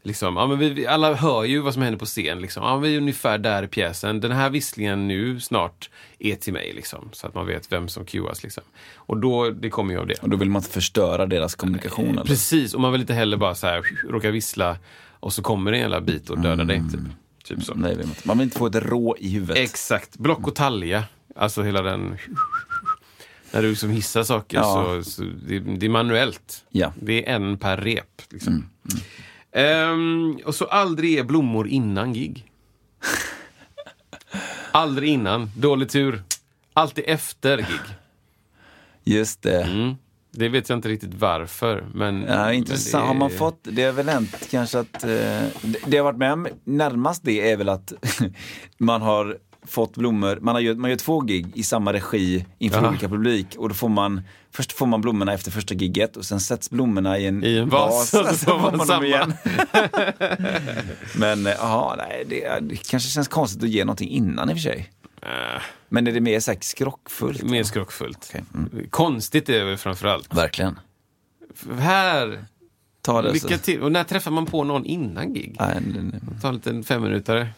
Speaker 2: Liksom, ja, men vi, vi- alla hör ju vad som händer på scen. Liksom. Ja, vi är ungefär där i pjäsen. Den här visslingen nu snart är till mig. Liksom, så att man vet vem som cuas. Liksom. Och då, det kommer ju av det.
Speaker 1: Och då vill man inte förstöra deras kommunikation. Eller?
Speaker 2: Precis, och man vill inte heller bara så här, råka vissla och så kommer det en jävla bit och dödar dig. Typ. typ så.
Speaker 1: Nej, vill man, inte. man vill inte få ett rå i huvudet.
Speaker 2: Exakt. Block och talja. Alltså hela den... När du liksom hissar saker
Speaker 1: Ja.
Speaker 2: så, så det, det är manuellt.
Speaker 1: Ja. Mm,
Speaker 2: Det är en per rep. Liksom. Ehm, och så aldrig ge blommor innan gig. aldrig innan. Dålig tur. Alltid efter gig.
Speaker 1: Just det.
Speaker 2: Mm. Det vet jag inte riktigt varför. Men,
Speaker 1: Ja,
Speaker 2: men
Speaker 1: intressant.
Speaker 2: det
Speaker 1: Har man
Speaker 2: är-
Speaker 1: fått, det har väl hänt kanske att, eh, det, det jag varit med om närmast det är väl att man har fått blommor, man, har, gjort- man gör två gig i samma regi inför
Speaker 2: Ja.
Speaker 1: olika publik och då får man, först får man blommorna efter första gigget och sen sätts blommorna i en,
Speaker 2: I en vas, och så får man samma.
Speaker 1: Men eh, ja, nej, det, det kanske känns konstigt att ge någonting innan i och för sig. Men är det mer så här skrockfullt?
Speaker 2: eh, Mer skrockfullt.
Speaker 1: Okej, mm.
Speaker 2: Konstigt är det väl framförallt.
Speaker 1: Verkligen.
Speaker 2: Här!
Speaker 1: Ta det
Speaker 2: Lycka
Speaker 1: så.
Speaker 2: till. Och när träffar man på någon innan gig?
Speaker 1: Nej, nej, nej.
Speaker 2: Ta en liten femminutare.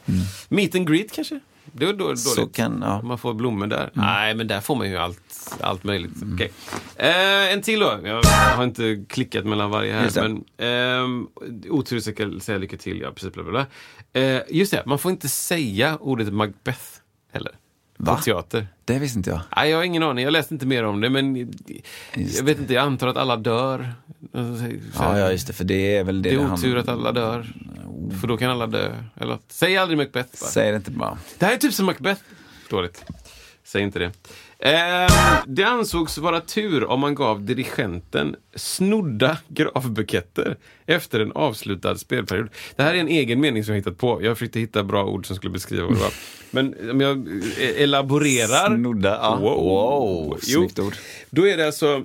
Speaker 2: Meet and greet kanske? Det är då, dåligt.
Speaker 1: Mm. Så kan, ja. Mm.
Speaker 2: Om Man får blommor där. Nej, men där får man ju allt, allt möjligt. Okej. Eh, en till då. Jag har inte klickat mellan varje här.
Speaker 1: Just det.
Speaker 2: Men, ehm, oturligt ska jag säga lycka till. Ja, precis, bla, bla, bla. Eh, just det, man får inte säga ordet Macbeth heller.
Speaker 1: Va?
Speaker 2: På teater.
Speaker 1: Det visste inte jag.
Speaker 2: Nej, jag har ingen aning. Jag läste inte mer om det. Men jag vet inte, jag antar att alla dör. Alltså, Så
Speaker 1: Ja,
Speaker 2: här.
Speaker 1: ja, just det, för det är väl det
Speaker 2: Det
Speaker 1: det
Speaker 2: är
Speaker 1: handlar
Speaker 2: otur att alla dör. För då kan alla dö. Eller, att- säg aldrig Macbeth. Bara.
Speaker 1: Säg det inte bara.
Speaker 2: Det här är typ som Macbeth. Dåligt. Säg inte det. Ehm, det ansågs vara tur om man gav dirigenten snodda gravbuketter efter en avslutad spelperiod. Det här är en egen mening som jag hittat på. Jag försökte hitta bra ord som skulle beskriva vad det var. Men om jag eh, elaborerar.
Speaker 1: Snodda, ja.
Speaker 2: Ah, Wow.
Speaker 1: Wow, snyggt ord.
Speaker 2: Då är det alltså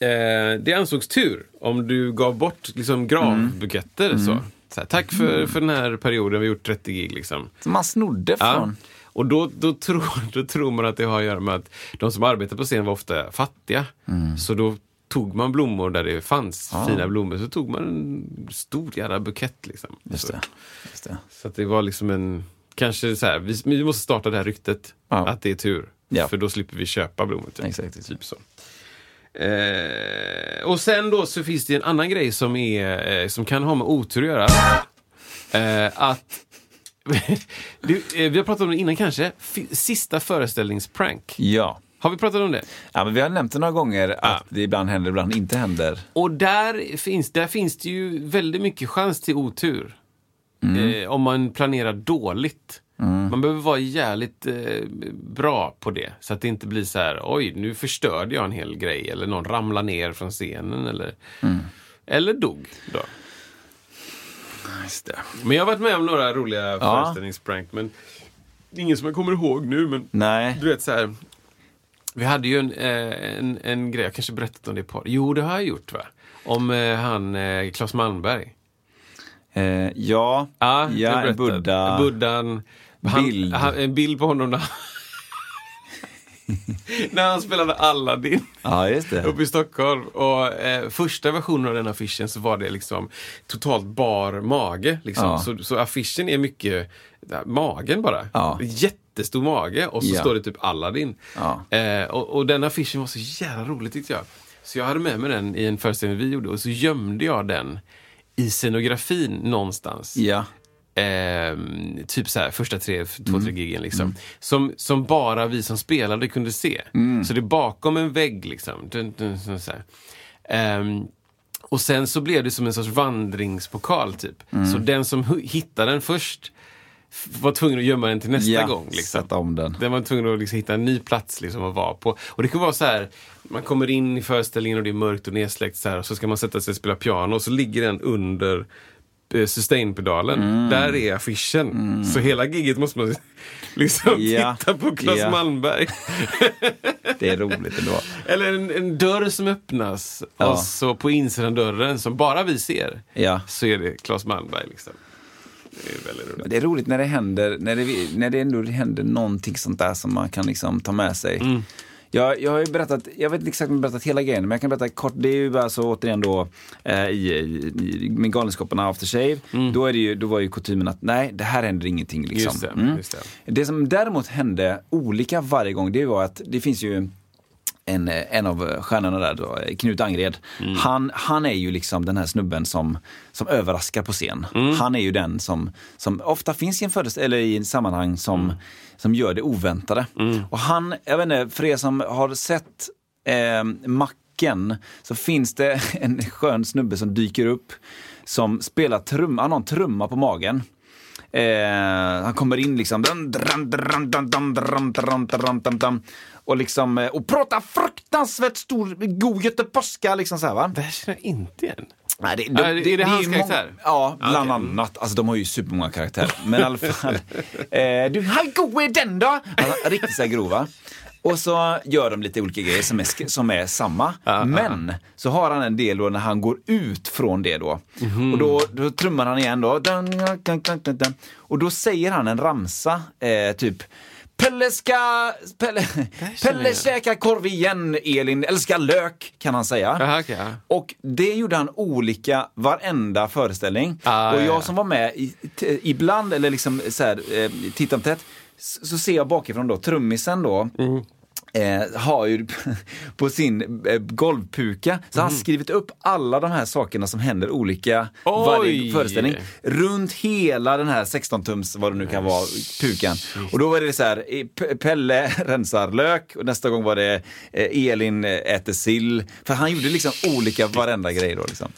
Speaker 2: Eh, det ansågs tur om du gav bort liksom, gravbuketter. Så. Så här, tack för, för den här perioden, vi har gjort 30 gig. Liksom.
Speaker 1: Som man snodde
Speaker 2: Ja.
Speaker 1: från.
Speaker 2: Och då, då, tror, då tror man att det har att göra med att de som arbetar på scen var ofta fattiga.
Speaker 1: Mm.
Speaker 2: Så då tog man blommor där det fanns fina blommor. Så tog man en stor jävla bukett. Liksom.
Speaker 1: Just
Speaker 2: Så-
Speaker 1: det. Just det.
Speaker 2: så att det var liksom en... Kanske så här, vi, men vi måste starta det här ryktet
Speaker 1: Ja.
Speaker 2: att det är tur.
Speaker 1: Ja.
Speaker 2: För då slipper vi köpa blommor. Typ.
Speaker 1: Exakt.
Speaker 2: Typ så. Eh, och sen då så finns det en annan grej som, är, eh, som kan ha med otur att göra. Eh, att du, eh, vi har pratat om det innan kanske. Fi- sista föreställningsprank.
Speaker 1: Ja.
Speaker 2: Har vi pratat om det?
Speaker 1: ja, men vi har nämnt det några gånger att det ibland händer, ibland inte händer.
Speaker 2: Och där finns, där finns det ju väldigt mycket chans till otur.
Speaker 1: Mm.
Speaker 2: Eh, om man planerar dåligt. Man behöver vara jävligt eh, bra på det. Så att det inte blir så här, oj, nu förstörde jag en hel grej. Eller någon ramlade ner från scenen. Eller,
Speaker 1: Mm.
Speaker 2: eller dog. Då.
Speaker 1: Just det.
Speaker 2: Men jag har varit med om några roliga
Speaker 1: Ja.
Speaker 2: föreställningsprank. Men det är ingen som jag kommer ihåg nu. Men
Speaker 1: Nej.
Speaker 2: du vet så här. Vi hade ju en, eh, en, en grej, jag kanske berättat om det på. Jo, det har jag gjort va? Om eh, han eh, Claes Malmberg.
Speaker 1: Eh, ja,
Speaker 2: Ja, det
Speaker 1: ja
Speaker 2: har jag
Speaker 1: en
Speaker 2: berättat.
Speaker 1: Buddha.
Speaker 2: Buddhan. Han,
Speaker 1: Bild.
Speaker 2: Han, en bild på honom när, när han spelade Aladdin.
Speaker 1: Ja, just det.
Speaker 2: Uppe i Stockholm. Och eh, första versionen av den affischen så var det liksom totalt bar mage. Liksom.
Speaker 1: Ja.
Speaker 2: Så, så affischen är mycket där, magen bara.
Speaker 1: Ja.
Speaker 2: Jättestor mage och så
Speaker 1: Ja.
Speaker 2: står det typ Aladdin.
Speaker 1: Ja.
Speaker 2: Eh, och, och den affischen var så jävla rolig tyckte jag. Så jag hade med mig den i en föreställning vi gjorde och så gömde jag den i scenografin någonstans.
Speaker 1: Ja.
Speaker 2: Ehm, typ så här, första tre, två, tre
Speaker 1: Mm.
Speaker 2: giggen liksom. Som, som bara vi som spelade kunde
Speaker 1: Mm.
Speaker 2: se. Så det är bakom en vägg liksom. Dun, dun, så så här. Ehm, Och sen så blev det som en sorts vandringspokal typ.
Speaker 1: Mm.
Speaker 2: Så den som hu- hittade den först f- var tvungen att gömma den till nästa
Speaker 1: Ja,
Speaker 2: gång. Liksom.
Speaker 1: sätta om den.
Speaker 2: Den var tvungen att liksom hitta en ny plats liksom, att vara på. Och det kan vara så här, man kommer in i föreställningen och det är mörkt och nedsläckt så här, och så ska man sätta sig och spela piano och så ligger den under eh, sustainpedalen.
Speaker 1: Mm.
Speaker 2: Där är affischen. Så hela giget måste man liksom
Speaker 1: Ja.
Speaker 2: titta på Claes
Speaker 1: Ja.
Speaker 2: Malmberg.
Speaker 1: Det är roligt ändå.
Speaker 2: Eller en, en dörr som öppnas
Speaker 1: Ja.
Speaker 2: och så på insidan dörren som bara vi ser
Speaker 1: Ja.
Speaker 2: så är det Claes Malmberg. Liksom. Det är väldigt roligt.
Speaker 1: Det är roligt när det händer, när det, när det ändå händer någonting sånt där som man kan liksom ta med sig. Jag, jag har ju berättat, jag vet inte exakt om jag har berättat hela grejen, men jag kan berätta kort. Det är ju bara så återigen då eh, i, i, i med Galenskaparna After Shave. Då, är det ju, då var ju kutymen att nej, det här händer ingenting. Liksom.
Speaker 2: Just det, just
Speaker 1: det. som däremot hände olika varje gång, det var att det finns ju en, en av stjärnorna där, då, Knut Angred,
Speaker 2: Mm.
Speaker 1: han, han är ju liksom den här snubben som, som överraskar på scen.
Speaker 2: Mm.
Speaker 1: Han är ju den som, som ofta finns i en föreställ- eller i en sammanhang som,
Speaker 2: Mm.
Speaker 1: som gör det oväntade. Och han, jag vet inte, för er som har sett eh, Macken så finns det en skön snubbe som dyker upp som spelar trumma, han har en trumma på magen. Eh, han kommer in liksom dun, dun, dun, dun, dun, dun, dun, dun, dun, dun, och liksom eh, och pratar fruktansvärt stor god göteborgska liksom så här va.
Speaker 2: Det här känner jag inte igen.
Speaker 1: Nej, det,
Speaker 2: är det hans
Speaker 1: ju
Speaker 2: karaktär?
Speaker 1: många- Ja,
Speaker 2: Ja,
Speaker 1: bland
Speaker 2: okej. Mm.
Speaker 1: annat. Alltså de har ju supermånga karaktärer. Men i alla fall. Eh, du, hur god är den då? Alltså, riktigt så här grova. Och så gör de lite olika grejer som är, sk- som är samma. Men så har han en del då när han går ut från det då. Och då, då trummar han igen då. Dun, dun, dun, dun, dun. Och då säger han en ramsa, eh, typ Pelle ska, Pelle, Pelle käka korv igen, Elin älskar lök, kan han säga.
Speaker 2: Aha, okej, ja.
Speaker 1: Och det gjorde han olika varenda föreställning.
Speaker 2: Ah,
Speaker 1: och jag
Speaker 2: ja, ja.
Speaker 1: som var med i, t- ibland, eller liksom så här, eh, tittar på tätt, så, så ser jag bakifrån då, trummisen då,
Speaker 2: Mm.
Speaker 1: eh, har ju på sin eh, golvpuka, så har han
Speaker 2: Mm.
Speaker 1: skrivit upp alla de här sakerna som händer olika varje
Speaker 2: Oj!
Speaker 1: föreställning. Runt hela den här 16-tums, vad det nu kan vara, pukan. Och då var det så här, eh, P- Pelle rensar lök och nästa gång var det eh, Elin eh, äter sill. För han gjorde liksom olika varenda grej då liksom.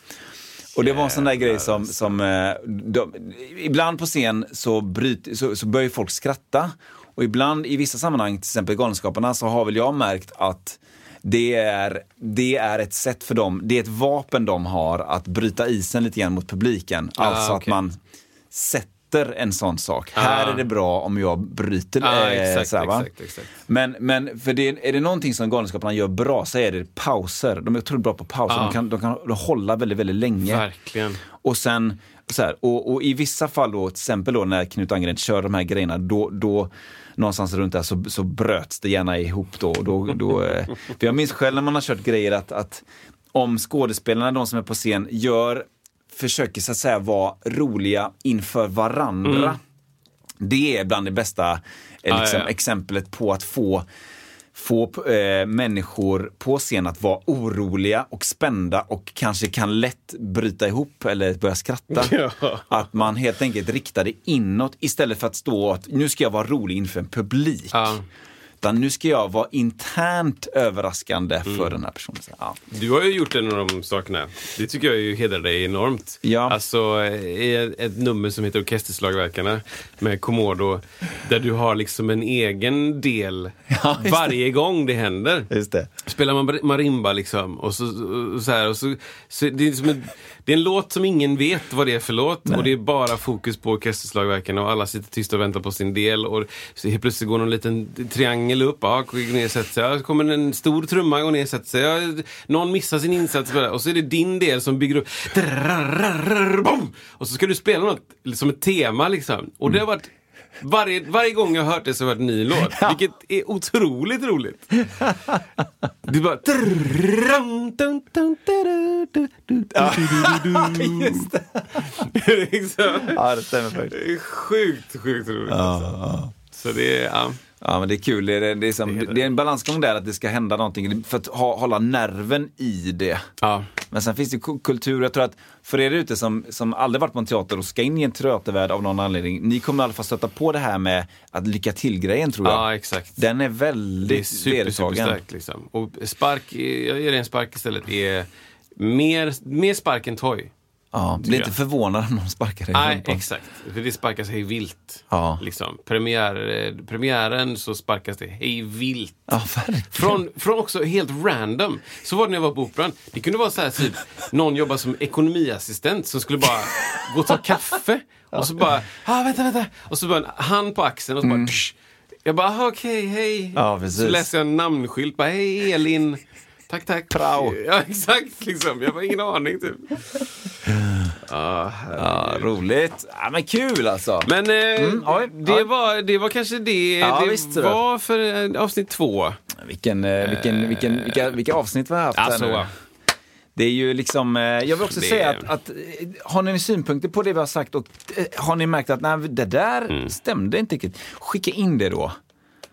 Speaker 1: Och det var en sån där grej som, som eh, de, ibland på scen så, bryt, så, så börjar ju folk skratta. Och ibland i vissa sammanhang, till exempel Galenskaparna, så har väl jag märkt att det är, det är ett sätt för dem, det är ett vapen de har att bryta isen lite grann mot publiken. alltså att
Speaker 2: Ah, okej.
Speaker 1: man sätter en sån sak. Här är det bra om jag bryter.
Speaker 2: Ah,
Speaker 1: eh,
Speaker 2: exakt,
Speaker 1: så här, va?
Speaker 2: exakt, exakt.
Speaker 1: Men, men för det, är det någonting som Galenskaparna gör bra så är det pauser. De är otroligt bra på pauser. De, kan, de kan hålla väldigt, väldigt länge.
Speaker 2: Verkligen.
Speaker 1: Och sen, så här, och, och i vissa fall då, till exempel då när Knut Angren kör de här grejerna, då, då någonstans runt där så, så bröts det gärna ihop då. Och då, då eh, för jag minns själv när man har kört grejer att, att om skådespelarna, de som är på scen, gör, försöker så att säga vara roliga inför varandra. Det är bland det bästa eh, liksom,
Speaker 2: ja, ja.
Speaker 1: exemplet på att få få eh, människor på scen att vara oroliga och spända och kanske kan lätt bryta ihop eller börja skratta. Att man helt enkelt riktar det inåt istället för att stå att nu ska jag vara rolig inför en publik.
Speaker 2: Ja.
Speaker 1: Utan nu ska jag vara internt överraskande
Speaker 2: Mm.
Speaker 1: för den här personen. Så, Ja.
Speaker 2: Du har ju gjort en av de sakerna. Det tycker jag ju hedrar dig enormt.
Speaker 1: Ja.
Speaker 2: Alltså eh, i ett nummer som heter Orkesterslagverkarna med Komodo. Där du har liksom en egen del
Speaker 1: Ja, just
Speaker 2: varje gång det händer.
Speaker 1: Just det.
Speaker 2: Spelar man mar- marimba liksom och så, och så här. Och så, så det, är som en, det är en låt som ingen vet vad det är för låt och det är bara fokus på orkesterslagverken och alla sitter tysta och väntar på sin del och så helt plötsligt går någon liten triangel upp, ja, går ner och sätter sig, ja, så kommer en stor trumma, går ner och sätter sig, ja, någon missar sin insats och så är det din del som bygger upp Bom! och så ska du spela något som ett tema liksom. Och det har varit varje, varje gång jag har hört det så har jag hört en ny låt, vilket är otroligt roligt. Det är bara... Just det. Liksom.
Speaker 1: Ja, det stämmer faktiskt.
Speaker 2: Det är sjukt, sjukt roligt. alltså. Så det är... Ja.
Speaker 1: Ja, men det är kul. Det är, det är, som, det är en balansgång där att det ska hända någonting för att ha, hålla nerven i det.
Speaker 2: Ja.
Speaker 1: Men sen finns det ku- kultur. Jag tror att för er ute som, som aldrig varit på en teater och ska in i en teatervärld av någon anledning, ni kommer i alla fall stöta på det här med att lycka till-grejen tror jag.
Speaker 2: Ja, exakt.
Speaker 1: Den är
Speaker 2: Det är
Speaker 1: väldigt
Speaker 2: super,
Speaker 1: vedertagen.
Speaker 2: superstarkt liksom. Och spark, jag ger dig en spark istället, är Mer, mer spark än toj.
Speaker 1: Ja, blir inte
Speaker 2: jag.
Speaker 1: förvånad om någon sparkar dig i
Speaker 2: Nej,
Speaker 1: rumpan.
Speaker 2: exakt. För det sparkas hej vilt.
Speaker 1: Ja.
Speaker 2: Liksom. Premiär, eh, premiären så sparkas det hej vilt.
Speaker 1: Ja, verkligen.
Speaker 2: Från, från också helt random. Så var det när jag var på Operan. Det kunde vara så här typ, någon jobbar som ekonomiassistent som skulle bara gå och ta kaffe. Och så bara, ah, vänta, vänta. Och så bara en hand på axeln och så bara, tsch. Jag bara, "Aha, okej, hej.
Speaker 1: Mm. Ja, precis.
Speaker 2: så läser jag en namnskylt, bara, hej Elin. Tack, tack.
Speaker 1: Prao.
Speaker 2: Ja, exakt. Liksom. Jag har ingen aning typ. Ah,
Speaker 1: Ja, roligt. Ja, men kul alltså.
Speaker 2: Men eh,
Speaker 1: oj,
Speaker 2: det,
Speaker 1: oj.
Speaker 2: Var, det var kanske det
Speaker 1: Ja,
Speaker 2: det
Speaker 1: visst,
Speaker 2: var för eh, avsnitt två.
Speaker 1: Vilken, eh, vilken, vilken, vilka, vilka avsnitt vi har haft
Speaker 2: Alltså,
Speaker 1: här nu.
Speaker 2: va.
Speaker 1: Det är ju liksom, eh, jag vill också
Speaker 2: Det-
Speaker 1: säga att, att eh, har ni synpunkter på det vi har sagt och eh, har ni märkt att nej, det där
Speaker 2: Mm.
Speaker 1: stämde inte riktigt, skicka in det då.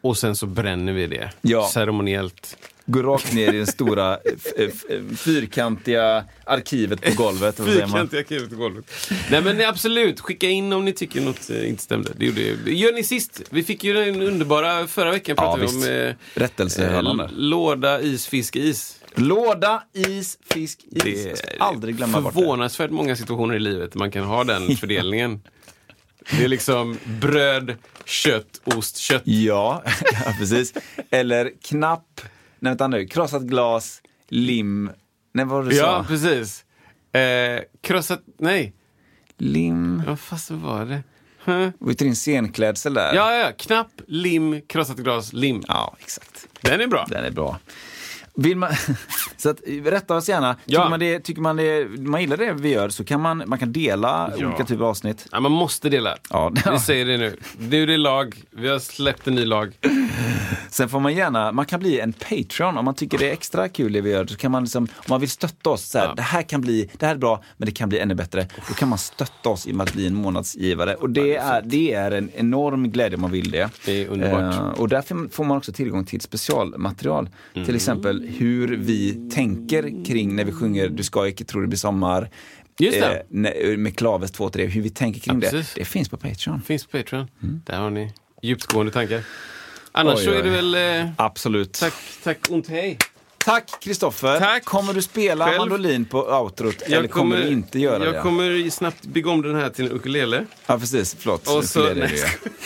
Speaker 2: Och sen så bränner vi det.
Speaker 1: Ja.
Speaker 2: Ceremoniellt.
Speaker 1: Gå rakt ner i det stora eh, f- f- fyrkantiga arkivet på golvet. vad säger man?
Speaker 2: Fyrkantiga kuvet på golvet. Nej men absolut, skicka in om ni tycker något eh, inte stämde. Det gjorde ju- gör ni sist. Vi fick ju den underbara, förra veckan
Speaker 1: Ja,
Speaker 2: pratade
Speaker 1: visst.
Speaker 2: vi om eh,
Speaker 1: Rättelsehörnan där.
Speaker 2: låda, is, fisk, is.
Speaker 1: Låda, is, fisk, is. Alltså,
Speaker 2: Det är
Speaker 1: Aldrig glömma bort det.
Speaker 2: förvånansvärt många situationer i livet man kan ha den fördelningen. Det är liksom bröd, kött, ost, kött.
Speaker 1: Ja, ja, precis. Eller knapp, nej vänta nu, krossat glas, lim, nej vad var det du
Speaker 2: Ja,
Speaker 1: sa?
Speaker 2: precis. Eh, krossat... Nej,
Speaker 1: Lim,
Speaker 2: vad fasen var det?
Speaker 1: var ju din scenklädsel där.
Speaker 2: Ja, ja, knapp, lim, krossat glas, lim.
Speaker 1: ja exakt.
Speaker 2: Den är bra.
Speaker 1: Den är bra. Vill man, så att, rätta oss gärna. Tycker,
Speaker 2: Ja.
Speaker 1: man det, tycker man det, man gillar det vi gör så kan man, man kan dela
Speaker 2: Ja.
Speaker 1: olika typer av avsnitt.
Speaker 2: Ja, man måste dela.
Speaker 1: Ja.
Speaker 2: Vi säger det nu. Nu är det lag. Vi har släppt en ny lag.
Speaker 1: Sen får man gärna, man kan bli en Patreon om man tycker det är extra kul det vi gör. Så kan man liksom, om man vill stötta oss, så här, det här kan bli, det här är bra men det kan bli ännu bättre. Då kan man stötta oss i och med att bli en månadsgivare. Och det är, det är en enorm glädje om man vill det.
Speaker 2: Det är underbart.
Speaker 1: Eh, och därför får man också tillgång till specialmaterial.
Speaker 2: Mm.
Speaker 1: Till exempel hur vi tänker kring när vi sjunger Du ska icke tro det blir sommar.
Speaker 2: Just det.
Speaker 1: Eh, när- med Klaves 2-3, hur vi tänker kring
Speaker 2: Ja,
Speaker 1: det.
Speaker 2: precis.
Speaker 1: Det finns på Patreon.
Speaker 2: Finns på Patreon. Där har ni djupgående tankar.
Speaker 1: Mm.
Speaker 2: Annars
Speaker 1: Oj,
Speaker 2: så
Speaker 1: oj.
Speaker 2: är det väl... Eh,
Speaker 1: Absolut.
Speaker 2: tack, tack, ont hej.
Speaker 1: Tack Kristoffer!
Speaker 2: Tack.
Speaker 1: Kommer du spela
Speaker 2: Själv.
Speaker 1: mandolin på outrot eller kommer, du inte göra
Speaker 2: jag
Speaker 1: det?
Speaker 2: kommer snabbt bygga om den här till en ukulele.
Speaker 1: Ja precis, förlåt.
Speaker 2: Och
Speaker 1: Nu
Speaker 2: så-
Speaker 1: fel är det
Speaker 2: nej.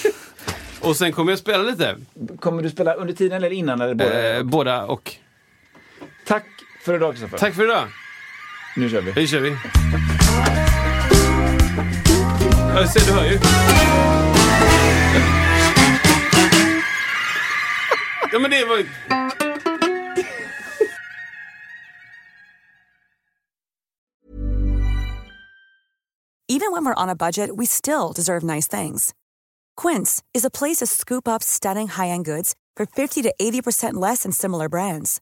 Speaker 1: ju.
Speaker 2: Och sen kommer jag spela lite.
Speaker 1: Kommer du spela under tiden eller innan? Eller både?
Speaker 2: Eh, båda och.
Speaker 1: Tack för idag Kristoffer.
Speaker 2: Tack för idag.
Speaker 1: Nu kör vi.
Speaker 2: Nu kör vi. Jag ser, du hör ju. Ja, men det var ju...
Speaker 5: Even when we're on a budget, we still deserve nice things. Quince is a place to scoop up stunning high end goods for 50 to 80% less than similar brands.